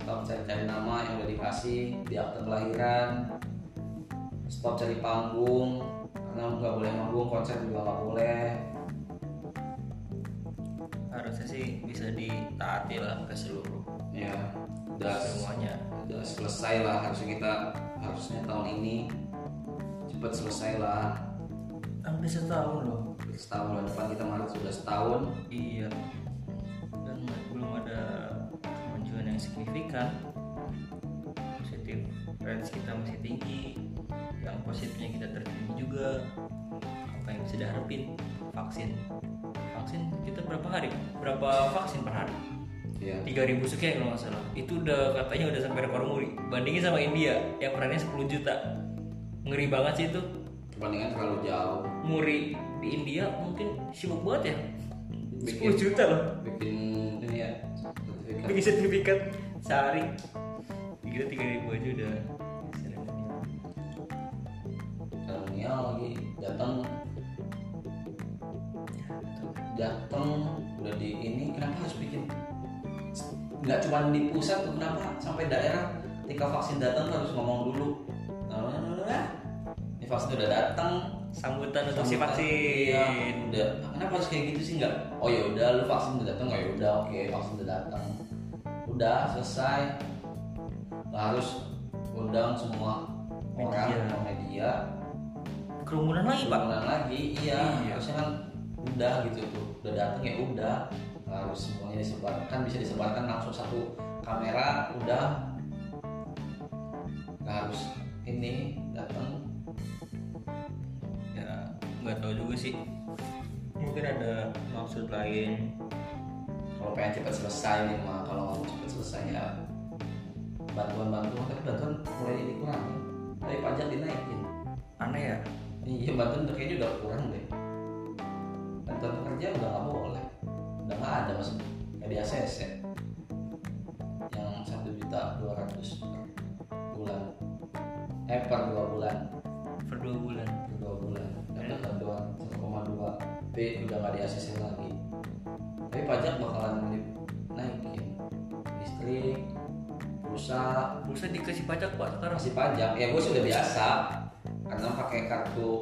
Speaker 1: stop cari-cari nama yang udah dikasih di akte kelahiran stop cari panggung karena nggak boleh manggung konser juga nggak boleh
Speaker 2: harusnya sih bisa ditaati lah ke seluruh
Speaker 1: ya
Speaker 2: ke
Speaker 1: udah
Speaker 2: semuanya
Speaker 1: udah selesai lah harusnya kita harusnya tahun ini cepet selesai lah
Speaker 2: hampir setahun loh
Speaker 1: setahun bulan depan kita Maret sudah setahun
Speaker 2: iya dan belum ada kemajuan yang signifikan positif range kita masih tinggi yang positifnya kita tertinggi juga apa yang bisa diharapin vaksin vaksin kita berapa hari berapa vaksin per hari
Speaker 1: ya
Speaker 2: 3000 sekian kalau nggak salah itu udah katanya udah sampai rekor muri bandingin sama India yang perannya 10 juta ngeri banget sih itu
Speaker 1: perbandingan terlalu jauh
Speaker 2: muri di India mungkin sibuk banget ya
Speaker 1: bikin
Speaker 2: 10 juta loh
Speaker 1: bikin ini ya sertifikat.
Speaker 2: bikin sertifikat sehari kita tiga ribu aja udah
Speaker 1: Terminal lagi datang datang udah di ini kenapa harus bikin nggak cuma di pusat tuh kenapa sampai daerah ketika vaksin datang tuh harus ngomong dulu Nah, ini vaksin udah datang
Speaker 2: sambutan untuk si
Speaker 1: Sambutan.
Speaker 2: vaksin
Speaker 1: Iya, udah kenapa harus kayak gitu sih nggak oh ya udah lu vaksin udah datang oh ya udah oke vaksin udah datang udah selesai Nah, harus undang semua orang
Speaker 2: Media.
Speaker 1: semua media
Speaker 2: kerumunan lagi pak
Speaker 1: bangunan lagi iya
Speaker 2: Iya.
Speaker 1: harusnya kan udah gitu tuh udah datang ya udah Nggak harus semuanya disebarkan bisa disebarkan langsung satu kamera udah nggak harus ini datang
Speaker 2: ya nggak tahu juga sih mungkin ada maksud lain
Speaker 1: kalau pengen cepat selesai nih mah kalau mau cepat selesai ya bantuan bantuan tapi bantuan mulai dikurangi dari pajak dinaikin
Speaker 2: aneh ya
Speaker 1: iya bantuan udah kayaknya udah kurang deh bantuan pekerja udah nggak boleh udah nggak ada maksudnya kayak di ACC ya. yang satu juta dua ratus per bulan eh per dua bulan
Speaker 2: per dua bulan
Speaker 1: per dua bulan dapat bantuan 1,2 p udah nggak di ACC lagi tapi pajak bakalan di- naikin listrik pulsa
Speaker 2: bursa dikasih pajak pak sekarang
Speaker 1: masih pajak ya gue sudah biasa karena pakai kartu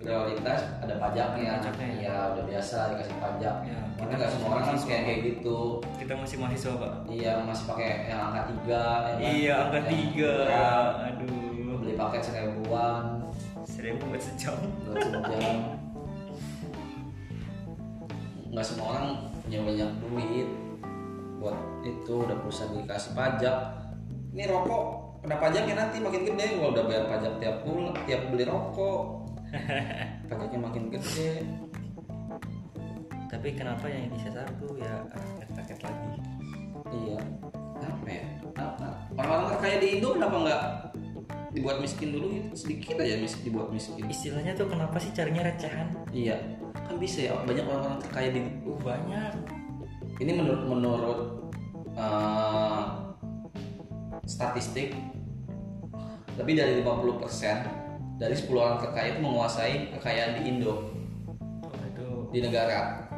Speaker 1: prioritas ada pajaknya
Speaker 2: Pajaknya ya?
Speaker 1: ya udah biasa dikasih pajak
Speaker 2: Ya,
Speaker 1: karena nggak semua orang kan kayak kayak gitu
Speaker 2: kita masih mahasiswa pak
Speaker 1: iya masih pakai yang angka tiga ya kan?
Speaker 2: iya angka
Speaker 1: Yang
Speaker 2: tiga
Speaker 1: murah.
Speaker 2: aduh
Speaker 1: beli paket seribuan
Speaker 2: seribu buat sejam
Speaker 1: buat sejam nggak semua orang punya banyak duit buat itu udah perusahaan dikasih pajak ini rokok kena pajaknya nanti makin gede gua udah bayar pajak tiap bulan tiap beli rokok pajaknya makin gede
Speaker 2: tapi kenapa yang disasar tuh ya paket lagi
Speaker 1: iya apa ya Kenapa? orang-orang kaya di Indo kenapa nggak dibuat miskin dulu gitu? sedikit aja miskin dibuat miskin
Speaker 2: istilahnya tuh kenapa sih carinya recehan
Speaker 1: iya kan bisa ya banyak orang-orang terkaya di
Speaker 2: uh, banyak
Speaker 1: ini menurut menurut eh, statistik lebih dari 50% dari 10 orang terkaya itu menguasai kekayaan di Indo
Speaker 2: aduh
Speaker 1: di negara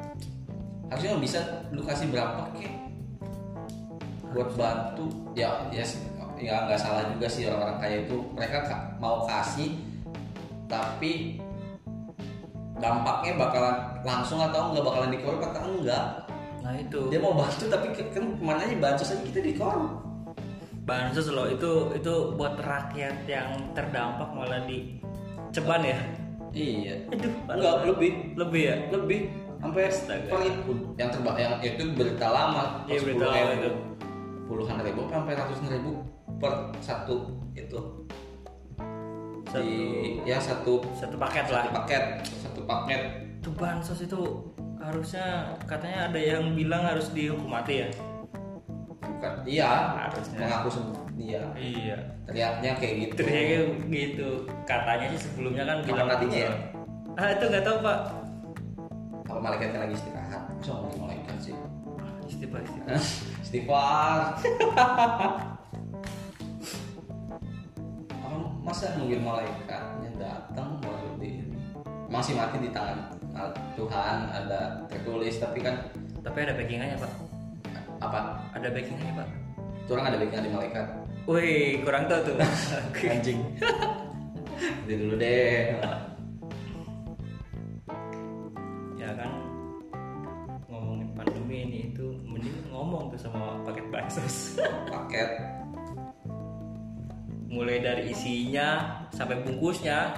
Speaker 1: harusnya bisa lu kasih berapa kek buat bantu ya ya s- ya nggak salah juga sih orang-orang kaya itu mereka ka- mau kasih tapi dampaknya bakalan langsung atau nggak bakalan dikorup atau enggak
Speaker 2: nah itu
Speaker 1: dia mau bantu tapi ke- kan kemana aja bantu saja kita di kolam
Speaker 2: bansos loh itu itu buat rakyat yang terdampak malah di ceban ya
Speaker 1: iya
Speaker 2: aduh
Speaker 1: enggak lebih
Speaker 2: lebih ya
Speaker 1: lebih sampai
Speaker 2: Astaga.
Speaker 1: per yang terba yang itu berita lama
Speaker 2: Iya, berita lama itu.
Speaker 1: puluhan ribu apa sampai ratusan ribu per satu itu
Speaker 2: satu
Speaker 1: di ya satu
Speaker 2: satu paket lah
Speaker 1: satu paket satu paket
Speaker 2: itu bansos itu harusnya katanya ada yang bilang harus dihukum mati ya
Speaker 1: bukan iya
Speaker 2: Harusnya.
Speaker 1: mengaku semua iya
Speaker 2: iya
Speaker 1: teriaknya kayak gitu
Speaker 2: ternyata gitu katanya sih sebelumnya kan
Speaker 1: Apa
Speaker 2: bilang
Speaker 1: katanya ya?
Speaker 2: ah itu nggak tahu pak
Speaker 1: apa malaikatnya lagi istirahat masa ngomongin malaikat sih
Speaker 2: Ah, istighfar istighfar
Speaker 1: Istighfar. Apa masa nungguin malaikatnya datang baru di ini? Masih mati di tangan Ah, Tuhan ada tertulis tapi kan
Speaker 2: tapi ada backingannya pak
Speaker 1: apa?
Speaker 2: ada backingannya pak
Speaker 1: Itu orang ada baiknya di malaikat.
Speaker 2: wih kurang tahu tuh
Speaker 1: Anjing. Itu dulu deh.
Speaker 2: ya kan ngomongin pandemi ini itu mending ngomong tuh sama paket bansos
Speaker 1: Paket
Speaker 2: mulai dari isinya sampai bungkusnya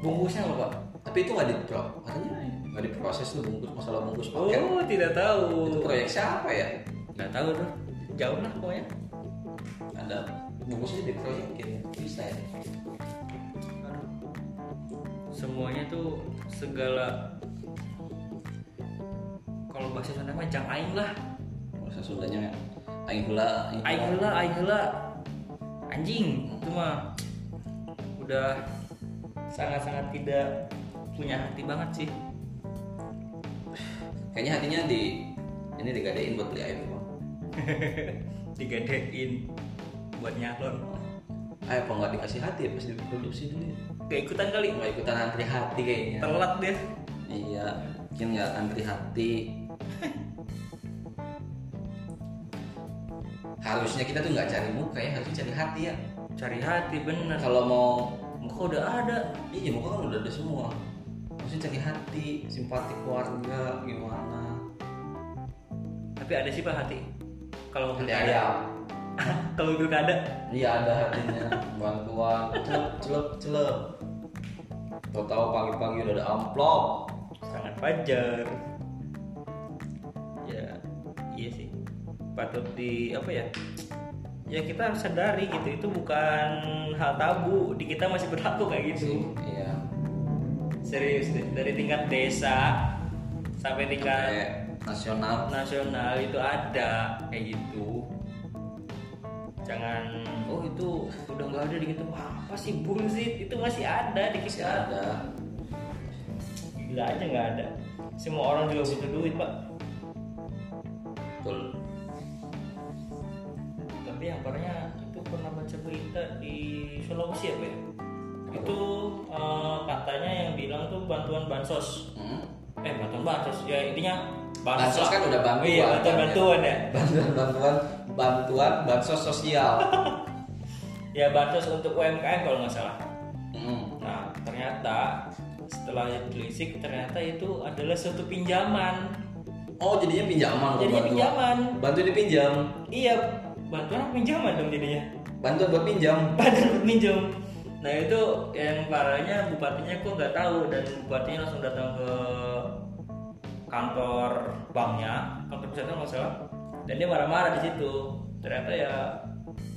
Speaker 2: bungkusnya apa pak
Speaker 1: tapi itu nggak dipro, katanya nggak diproses tuh bungkus masalah bungkus paket.
Speaker 2: oh tidak
Speaker 1: Itu
Speaker 2: tahu
Speaker 1: proyek siapa ya?
Speaker 2: nggak tahu tuh jauh lah pokoknya
Speaker 1: Ada bungkusnya diproyekin bisa ya?
Speaker 2: Aduh. semuanya tuh segala kalau bahasa Sunda mah jang aing lah
Speaker 1: Bahasa Sundanya aing heula,
Speaker 2: aing heula aing heula anjing itu mah udah sangat-sangat tidak punya hati banget sih
Speaker 1: kayaknya hatinya di ini digadein buat beli iPhone
Speaker 2: digedein buat nyalon
Speaker 1: iPhone nggak dikasih hati ya pas diproduksi dulu ya.
Speaker 2: keikutan kali
Speaker 1: nggak ikutan antri hati kayaknya
Speaker 2: telat deh
Speaker 1: iya mungkin nggak antri hati harusnya kita tuh nggak cari muka ya harusnya cari hati ya Nah,
Speaker 2: cari hati bener
Speaker 1: kalau mau
Speaker 2: muka udah ada
Speaker 1: iya muka kan udah ada semua harusnya cari hati simpati keluarga gimana
Speaker 2: tapi ada sih pak hati kalau
Speaker 1: hati
Speaker 2: mobil ada
Speaker 1: ayam
Speaker 2: kalau mobil ada
Speaker 1: Iya ada hatinya bantuan celup celup celup. Tahu tahu pagi-pagi udah ada amplop.
Speaker 2: sangat wajar ya iya sih patut di apa ya ya kita harus sadari gitu itu bukan hal tabu di kita masih berlaku kayak gitu
Speaker 1: Iya.
Speaker 2: serius deh dari tingkat desa sampai tingkat
Speaker 1: Kayak nasional
Speaker 2: nasional itu ada kayak gitu jangan oh itu udah nggak ada di gitu Wah, apa sih bullshit itu masih ada di
Speaker 1: masih
Speaker 2: kita
Speaker 1: ada.
Speaker 2: gila aja nggak ada semua orang juga butuh duit pak
Speaker 1: Betul.
Speaker 2: tapi yang parahnya itu pernah baca berita di Sulawesi apa ya itu eh, katanya yang bilang tuh bantuan bansos
Speaker 1: Hmm?
Speaker 2: eh bantuan bansos ya intinya
Speaker 1: Bansos
Speaker 2: lah.
Speaker 1: kan udah bantuan,
Speaker 2: iya bantuan
Speaker 1: kan, ya.
Speaker 2: bantuan ya
Speaker 1: Bantuan bantuan bantuan bansos sosial.
Speaker 2: ya bansos untuk UMKM kalau nggak salah
Speaker 1: Hmm.
Speaker 2: nah ternyata setelah ditelisik ternyata itu adalah suatu pinjaman
Speaker 1: Oh jadinya pinjaman bukan
Speaker 2: jadinya
Speaker 1: bantuan.
Speaker 2: pinjaman
Speaker 1: Bantuan dipinjam.
Speaker 2: iya bantuan apa pinjaman dong jadinya
Speaker 1: Bantuan buat pinjam.
Speaker 2: badan minjem nah itu yang parahnya bupatinya kok nggak tahu dan bupatinya langsung datang ke kantor banknya kantor pusatnya nggak salah dan dia marah-marah di situ ternyata ya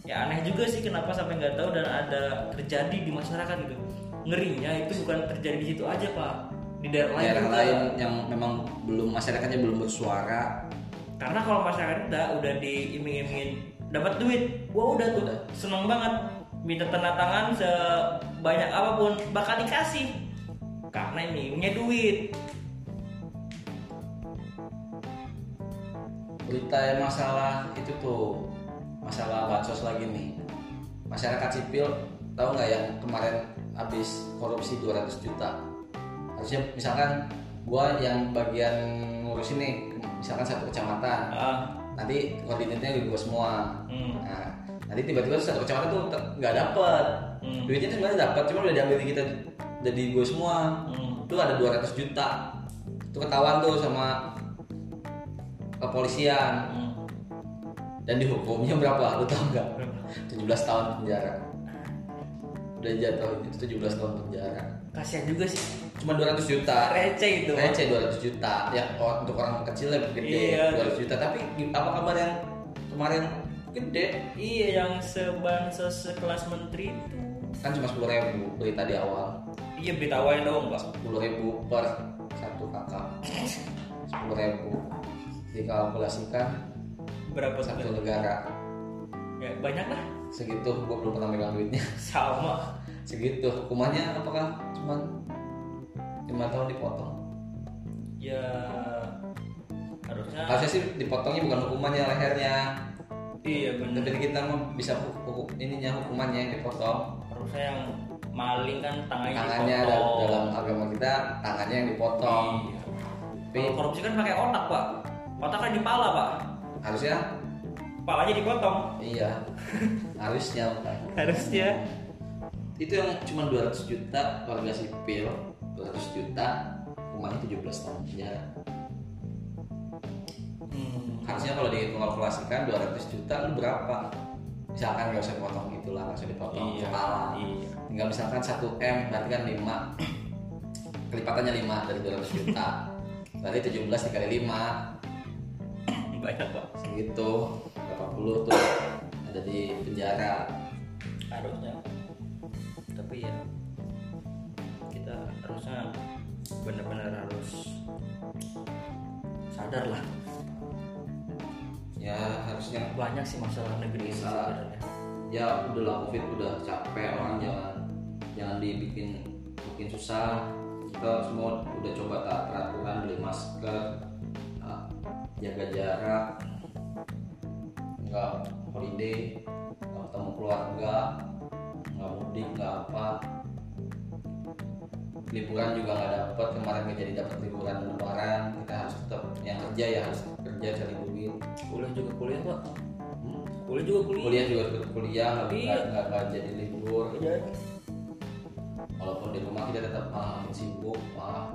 Speaker 2: ya aneh juga sih kenapa sampai nggak tahu dan ada terjadi di masyarakat gitu ngerinya itu bukan terjadi di situ aja pak di daerah lain
Speaker 1: Daerah
Speaker 2: juga.
Speaker 1: lain yang memang belum masyarakatnya belum bersuara
Speaker 2: karena kalau masyarakat kita udah diiming-imingin dapat duit wah udah tuh
Speaker 1: Udah.
Speaker 2: seneng banget minta tanda tangan sebanyak apapun bakal dikasih karena ini punya duit
Speaker 1: berita yang masalah itu tuh masalah bansos lagi nih masyarakat sipil tahu nggak yang kemarin habis korupsi 200 juta harusnya misalkan gua yang bagian ngurus ini misalkan satu kecamatan
Speaker 2: ah
Speaker 1: nanti koordinatnya gue semua
Speaker 2: hmm,
Speaker 1: nah nanti tiba-tiba satu kecamatan tuh ter- nggak dapet
Speaker 2: hmm,
Speaker 1: duitnya tuh sebenarnya dapet cuma udah diambil di kita dari gue semua
Speaker 2: hmm.
Speaker 1: itu ada 200 juta itu ketahuan tuh sama kepolisian
Speaker 2: hmm.
Speaker 1: dan dihukumnya berapa lu tau nggak 17 tahun penjara udah jatuh itu 17 tahun penjara
Speaker 2: kasihan juga sih
Speaker 1: cuma 200 juta
Speaker 2: receh gitu. itu
Speaker 1: receh 200 juta ya oh, untuk orang kecil lebih gede
Speaker 2: Iya.
Speaker 1: 200 juta tapi gi- apa kabar yang kemarin gede
Speaker 2: iya yang sebansos sekelas menteri itu
Speaker 1: kan cuma 10 ribu berita di awal
Speaker 2: iya beritawain dong pak
Speaker 1: 10 ribu per satu kakak 10 ribu dikalkulasikan
Speaker 2: berapa
Speaker 1: satu
Speaker 2: satu
Speaker 1: negara
Speaker 2: ya banyak lah
Speaker 1: segitu gua belum pernah megang duitnya
Speaker 2: sama
Speaker 1: segitu hukumannya apakah cuman lima tahun dipotong
Speaker 2: ya harusnya
Speaker 1: harusnya sih dipotongnya bukan hukumannya lehernya
Speaker 2: iya bener
Speaker 1: tapi kita mah bisa hu- hu- ininya hukumannya yang dipotong
Speaker 2: harusnya yang maling kan tangannya,
Speaker 1: tangannya
Speaker 2: dipotong.
Speaker 1: dal- dalam agama kita tangannya yang dipotong
Speaker 2: Iya.
Speaker 1: tapi
Speaker 2: Kalau korupsi kan pakai otak pak otak kan di pala pak
Speaker 1: harusnya
Speaker 2: palanya dipotong
Speaker 1: iya harusnya bukan.
Speaker 2: harusnya
Speaker 1: itu yang cuma 200 juta warga sipil 200 juta hukumannya 17 tahun penjara
Speaker 2: hmm.
Speaker 1: harusnya kalau dikalkulasikan 200 juta lu berapa misalkan nggak usah dipotong gitu lah nggak usah dipotong
Speaker 2: iya
Speaker 1: kepala
Speaker 2: iya
Speaker 1: Tinggal misalkan 1 M berarti kan 5 Kelipatannya 5 dari 200 juta Berarti 17 dikali 5
Speaker 2: banyak pak
Speaker 1: Segitu Berapa puluh tuh Ada di penjara
Speaker 2: harusnya tapi ya kita harusnya benar-benar harus sadar lah
Speaker 1: Ya harusnya
Speaker 2: banyak sih masalah negeri ini
Speaker 1: Masalah.
Speaker 2: sebenarnya
Speaker 1: Ya udah lah covid udah capek orang jangan Jangan dibikin bikin susah Kita semua udah coba taat peraturan beli masker ah, jaga jarak nggak holiday nggak ketemu keluarga nggak mudik nggak apa liburan juga nggak dapet kemarin nggak jadi dapet liburan lebaran kita harus tetap yang kerja ya harus kerja cari duit
Speaker 2: kuliah juga kuliah pak
Speaker 1: Hmm.
Speaker 2: kuliah juga kuliah,
Speaker 1: kuliah juga harus ikut kuliah nggak-
Speaker 2: Iya.
Speaker 1: nggak nggak- nggak jadi libur
Speaker 2: Iya.
Speaker 1: walaupun di rumah kita tetap malah makin sibuk malah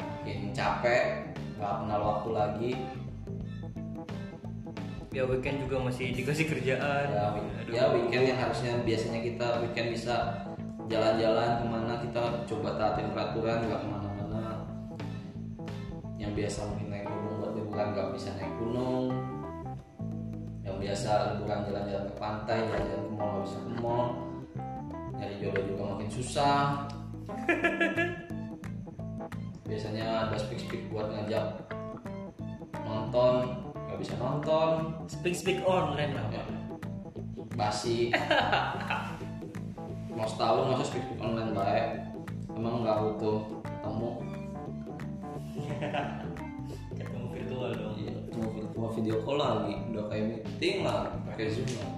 Speaker 1: makin capek nggak kenal waktu lagi
Speaker 3: ya weekend juga masih dikasih kerjaan
Speaker 1: ya, wi-
Speaker 3: Aduh.
Speaker 1: ya weekend yang harusnya biasanya kita weekend bisa jalan-jalan kemana kita coba taatin peraturan nggak kemana-mana yang biasa mungkin naik gunung buat liburan nggak bisa naik gunung yang biasa liburan jalan-jalan ke pantai jalan-jalan ke mall nggak bisa ke mall nyari jodoh juga makin susah biasanya ada speak speak buat ngajak nonton nggak bisa nonton
Speaker 3: speak speak online lah Pak.
Speaker 1: basi mau setahun masa speak speak online baik emang nggak butuh ketemu
Speaker 3: ketemu virtual dong
Speaker 1: Ya. Iya, ketemu virtual video call lagi udah kayak meeting lah pakai zoom lagi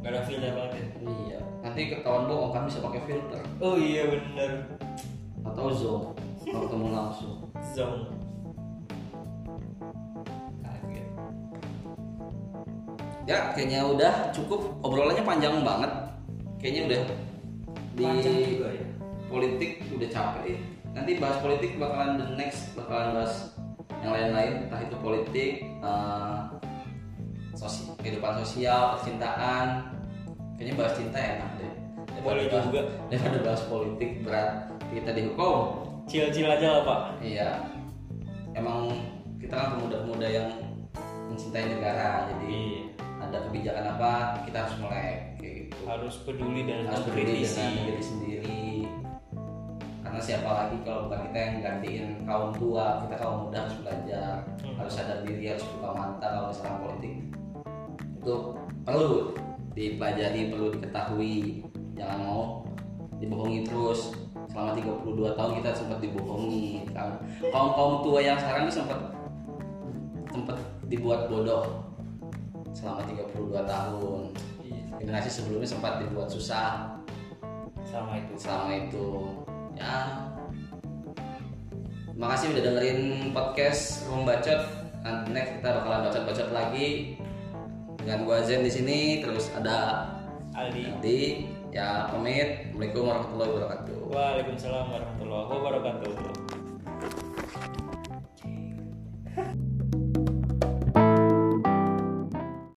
Speaker 3: gak ada filter banget ya
Speaker 1: iya nanti ketahuan bohong kan bisa pakai filter
Speaker 3: oh iya bener
Speaker 1: atau zoom kalau ketemu langsung
Speaker 3: zong kaget
Speaker 1: ya kayaknya udah cukup obrolannya panjang banget kayaknya udah di
Speaker 3: panjang juga ya
Speaker 1: politik udah capek ya. nanti bahas politik bakalan the next bakalan bahas yang lain-lain entah itu politik eh, sosi- kehidupan sosial percintaan kayaknya bahas cinta enak deh
Speaker 3: Boleh
Speaker 1: bahas,
Speaker 3: juga.
Speaker 1: daripada bahas politik berat kita dihukum
Speaker 3: chill chill aja lah pak
Speaker 1: iya emang kita kan pemuda-pemuda yang mencintai negara jadi
Speaker 3: Iya.
Speaker 1: ada kebijakan apa kita harus mulai kayak gitu
Speaker 3: harus peduli dan
Speaker 1: harus
Speaker 3: harus
Speaker 1: peduli
Speaker 3: kritisi
Speaker 1: dengan diri sendiri karena siapa lagi kalau bukan kita yang gantiin kaum tua kita kaum muda harus belajar
Speaker 3: Hmm.
Speaker 1: harus sadar diri harus buka mata kalau misalnya politik itu perlu dipelajari perlu diketahui jangan mau dibohongi terus selama 32 tahun kita sempat dibohongi kan kaum kaum tua yang sekarang ini sempat sempat dibuat bodoh selama 32 tahun generasi sebelumnya sempat dibuat susah
Speaker 3: sama itu
Speaker 1: selama itu ya makasih udah dengerin podcast Room Bacot Nah, next kita bakalan bacot-bacot lagi dengan gua Zen di sini terus ada
Speaker 3: Aldi
Speaker 1: Adi ya pamit Assalamualaikum warahmatullahi wabarakatuh
Speaker 3: Waalaikumsalam warahmatullahi wabarakatuh